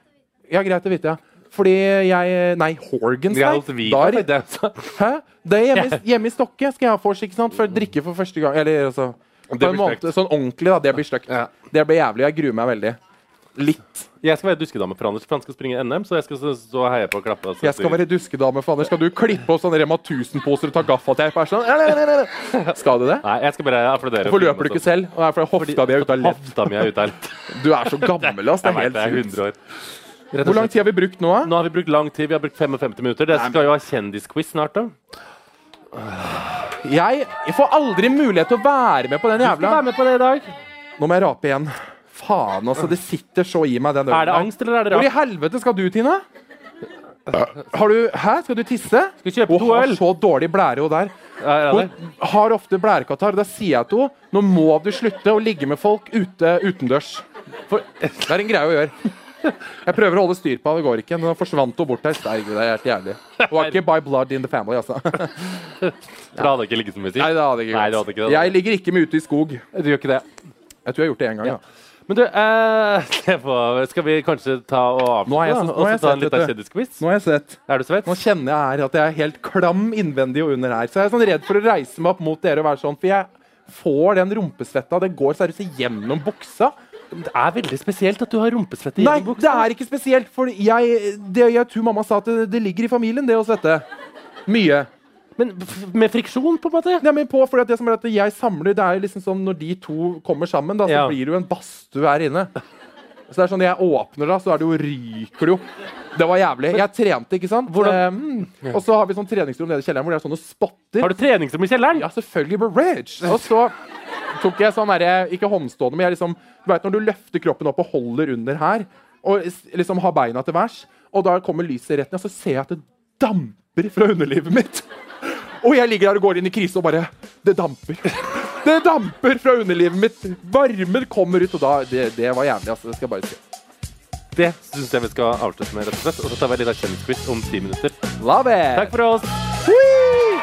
[SPEAKER 2] Ja, greit å vite, ja. Fordi jeg Nei, Horgans, nei. Da er- Hæ? Det er hjemme, i- hjemme i Stokke skal jeg ha vors, ikke sant? For å drikke for første gang. Eller altså på
[SPEAKER 5] blir
[SPEAKER 2] en måte, Sånn ordentlig, da. Det blir stygt. Det blir jævlig. Jeg gruer meg veldig. Litt.
[SPEAKER 5] Jeg skal være duskedame for Anders, for han skal springe NM. Så jeg skal stå- stå og heie på og klappe. og så-
[SPEAKER 2] Jeg skal være duskedame, for Anders. Skal du klippe opp sånne Rema 1000-poser og ta gaffateip? Er sånn, nei, nei, nei, nei. Skal du det?
[SPEAKER 5] Nei, jeg skal bare applaudere.
[SPEAKER 2] Hvorfor løper du ikke selv? Og det er fordi hofta di er ute av ledd.
[SPEAKER 5] Hofta mi er ute av [laughs] ledd.
[SPEAKER 2] Du er så gammel, ass. Det
[SPEAKER 5] Jeg
[SPEAKER 2] er
[SPEAKER 5] vet det, jeg er
[SPEAKER 2] helt sjukt.
[SPEAKER 5] 100 år.
[SPEAKER 2] Hvor lang tid har vi brukt nå, da?
[SPEAKER 5] Nå har vi brukt lang tid. Vi har brukt 55 minutter. Dere skal jo ha kjendisquiz snart, da.
[SPEAKER 2] Jeg får aldri mulighet til å være med på den
[SPEAKER 5] Skal
[SPEAKER 2] jævla
[SPEAKER 5] være med på det i dag.
[SPEAKER 2] Nå må jeg rape igjen. Faen, altså. Det sitter så i meg, den ølen
[SPEAKER 5] Er det
[SPEAKER 2] der.
[SPEAKER 5] angst, eller er det
[SPEAKER 2] Hvor i
[SPEAKER 5] rart?
[SPEAKER 2] helvete skal du, Tina? Har du Hæ? Skal du tisse?
[SPEAKER 5] Skal vi kjøpe
[SPEAKER 2] Hun
[SPEAKER 5] to
[SPEAKER 2] har
[SPEAKER 5] øl?
[SPEAKER 2] så dårlig blære, hun der.
[SPEAKER 5] Er det?
[SPEAKER 2] Hun har ofte blærekatarr. Da sier jeg til henne nå må du slutte å ligge med folk ute utendørs. For det er en greie å gjøre. Jeg prøver å holde styr på henne, det går ikke. Nå forsvant hun bort her. Herregud, det er helt jævlig. Hun er ikke by blood in the family, altså. [laughs] Nei,
[SPEAKER 5] For det hadde ikke ligget så mye tid.
[SPEAKER 2] det hadde jeg ikke
[SPEAKER 5] Nei, det
[SPEAKER 2] gjort.
[SPEAKER 5] hadde ikke det.
[SPEAKER 2] Jeg ligger ikke med ute i skog.
[SPEAKER 5] Du gjør ikke det.
[SPEAKER 2] Jeg tror jeg har gjort det én gang. Ja.
[SPEAKER 5] Men du, eh, [laughs] det var- skal vi kanskje ta og avslutte,
[SPEAKER 2] Nå er jeg så- nå
[SPEAKER 5] da?
[SPEAKER 2] er
[SPEAKER 5] og
[SPEAKER 2] jeg
[SPEAKER 5] så ta en
[SPEAKER 2] svett,
[SPEAKER 5] liten
[SPEAKER 2] vet
[SPEAKER 5] kjendisquiz?
[SPEAKER 2] Nå har jeg sett.
[SPEAKER 5] Er du svett?
[SPEAKER 2] Nå kjenner jeg her at jeg er helt klam innvendig og under her. Så jeg er sånn redd for å reise meg opp mot dere og være sånn, for jeg får den rumpesvetta. Den går seriøst gjennom buksa.
[SPEAKER 5] Det er veldig spesielt at du har rumpesvette i
[SPEAKER 2] Nei,
[SPEAKER 5] din bukse.
[SPEAKER 2] det er ikke spesielt, for jeg, det, jeg tror mamma sa at det, det ligger i familien, det å svette. Mye.
[SPEAKER 5] Men f- med friksjon, på en måte?
[SPEAKER 2] Nei, men på, fordi at det som er at jeg samler, det er liksom sånn når de to kommer sammen, da, så
[SPEAKER 5] Ja.
[SPEAKER 2] blir det jo en badstue her inne. Så det er sånn, når jeg åpner da, så er det jo ryker det jo. Det var jævlig. Jeg trente, ikke sant? Eh, mm. og så har vi sånn treningsrom nede i kjelleren hvor det er sånne spotter.
[SPEAKER 5] Har du treningsrom i kjelleren?
[SPEAKER 2] Ja, selvfølgelig Burridge. Og så tok jeg sånn derre Ikke håndstående, men jeg liksom Du veit når du løfter kroppen opp og holder under her, og s- liksom har beina til værs, og da kommer lyset rett ned, og så ser jeg at det damper fra underlivet mitt. Og jeg ligger der og går inn i krise og bare Det damper. Det damper fra underlivet mitt. Varmen kommer ut, og da Det, det var jævlig, altså. Det skal jeg bare si.
[SPEAKER 5] Det syns jeg vi skal avslutte med, rett og slett. Og så tar vi litt av kjendisquiz om ti minutter.
[SPEAKER 2] Love it!
[SPEAKER 5] Takk for oss.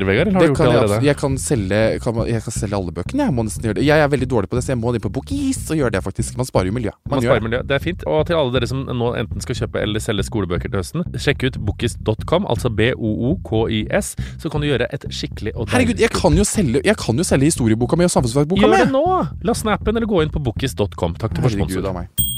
[SPEAKER 8] Vegard? Eller har
[SPEAKER 6] Det
[SPEAKER 8] du gjort
[SPEAKER 6] kan
[SPEAKER 8] det
[SPEAKER 6] jeg,
[SPEAKER 8] allerede?
[SPEAKER 6] abs- jeg, kan selge, kan, man- jeg kan selge alle bøkene. Jeg må nesten gjøre det. Jeg er veldig dårlig på det, så jeg må inn på Bokis og gjøre det, faktisk. Man sparer jo miljø. Man
[SPEAKER 8] Man
[SPEAKER 6] gjør
[SPEAKER 8] sparer miljø. Det er fint. Og til alle dere som nå enten skal kjøpe eller selge skolebøker til høsten, sjekk ut bokis.com, altså B-O-O-K-I-S, så kan du gjøre et skikkelig og
[SPEAKER 6] Herregud, jeg kan jo selge, jeg kan jo selge historieboka mi og samfunnsfagboka mi!
[SPEAKER 8] Gjør det nå! La snappen eller gå inn på bokis.com. Takk til vår
[SPEAKER 6] Herregud
[SPEAKER 8] sponsor.
[SPEAKER 6] av meg.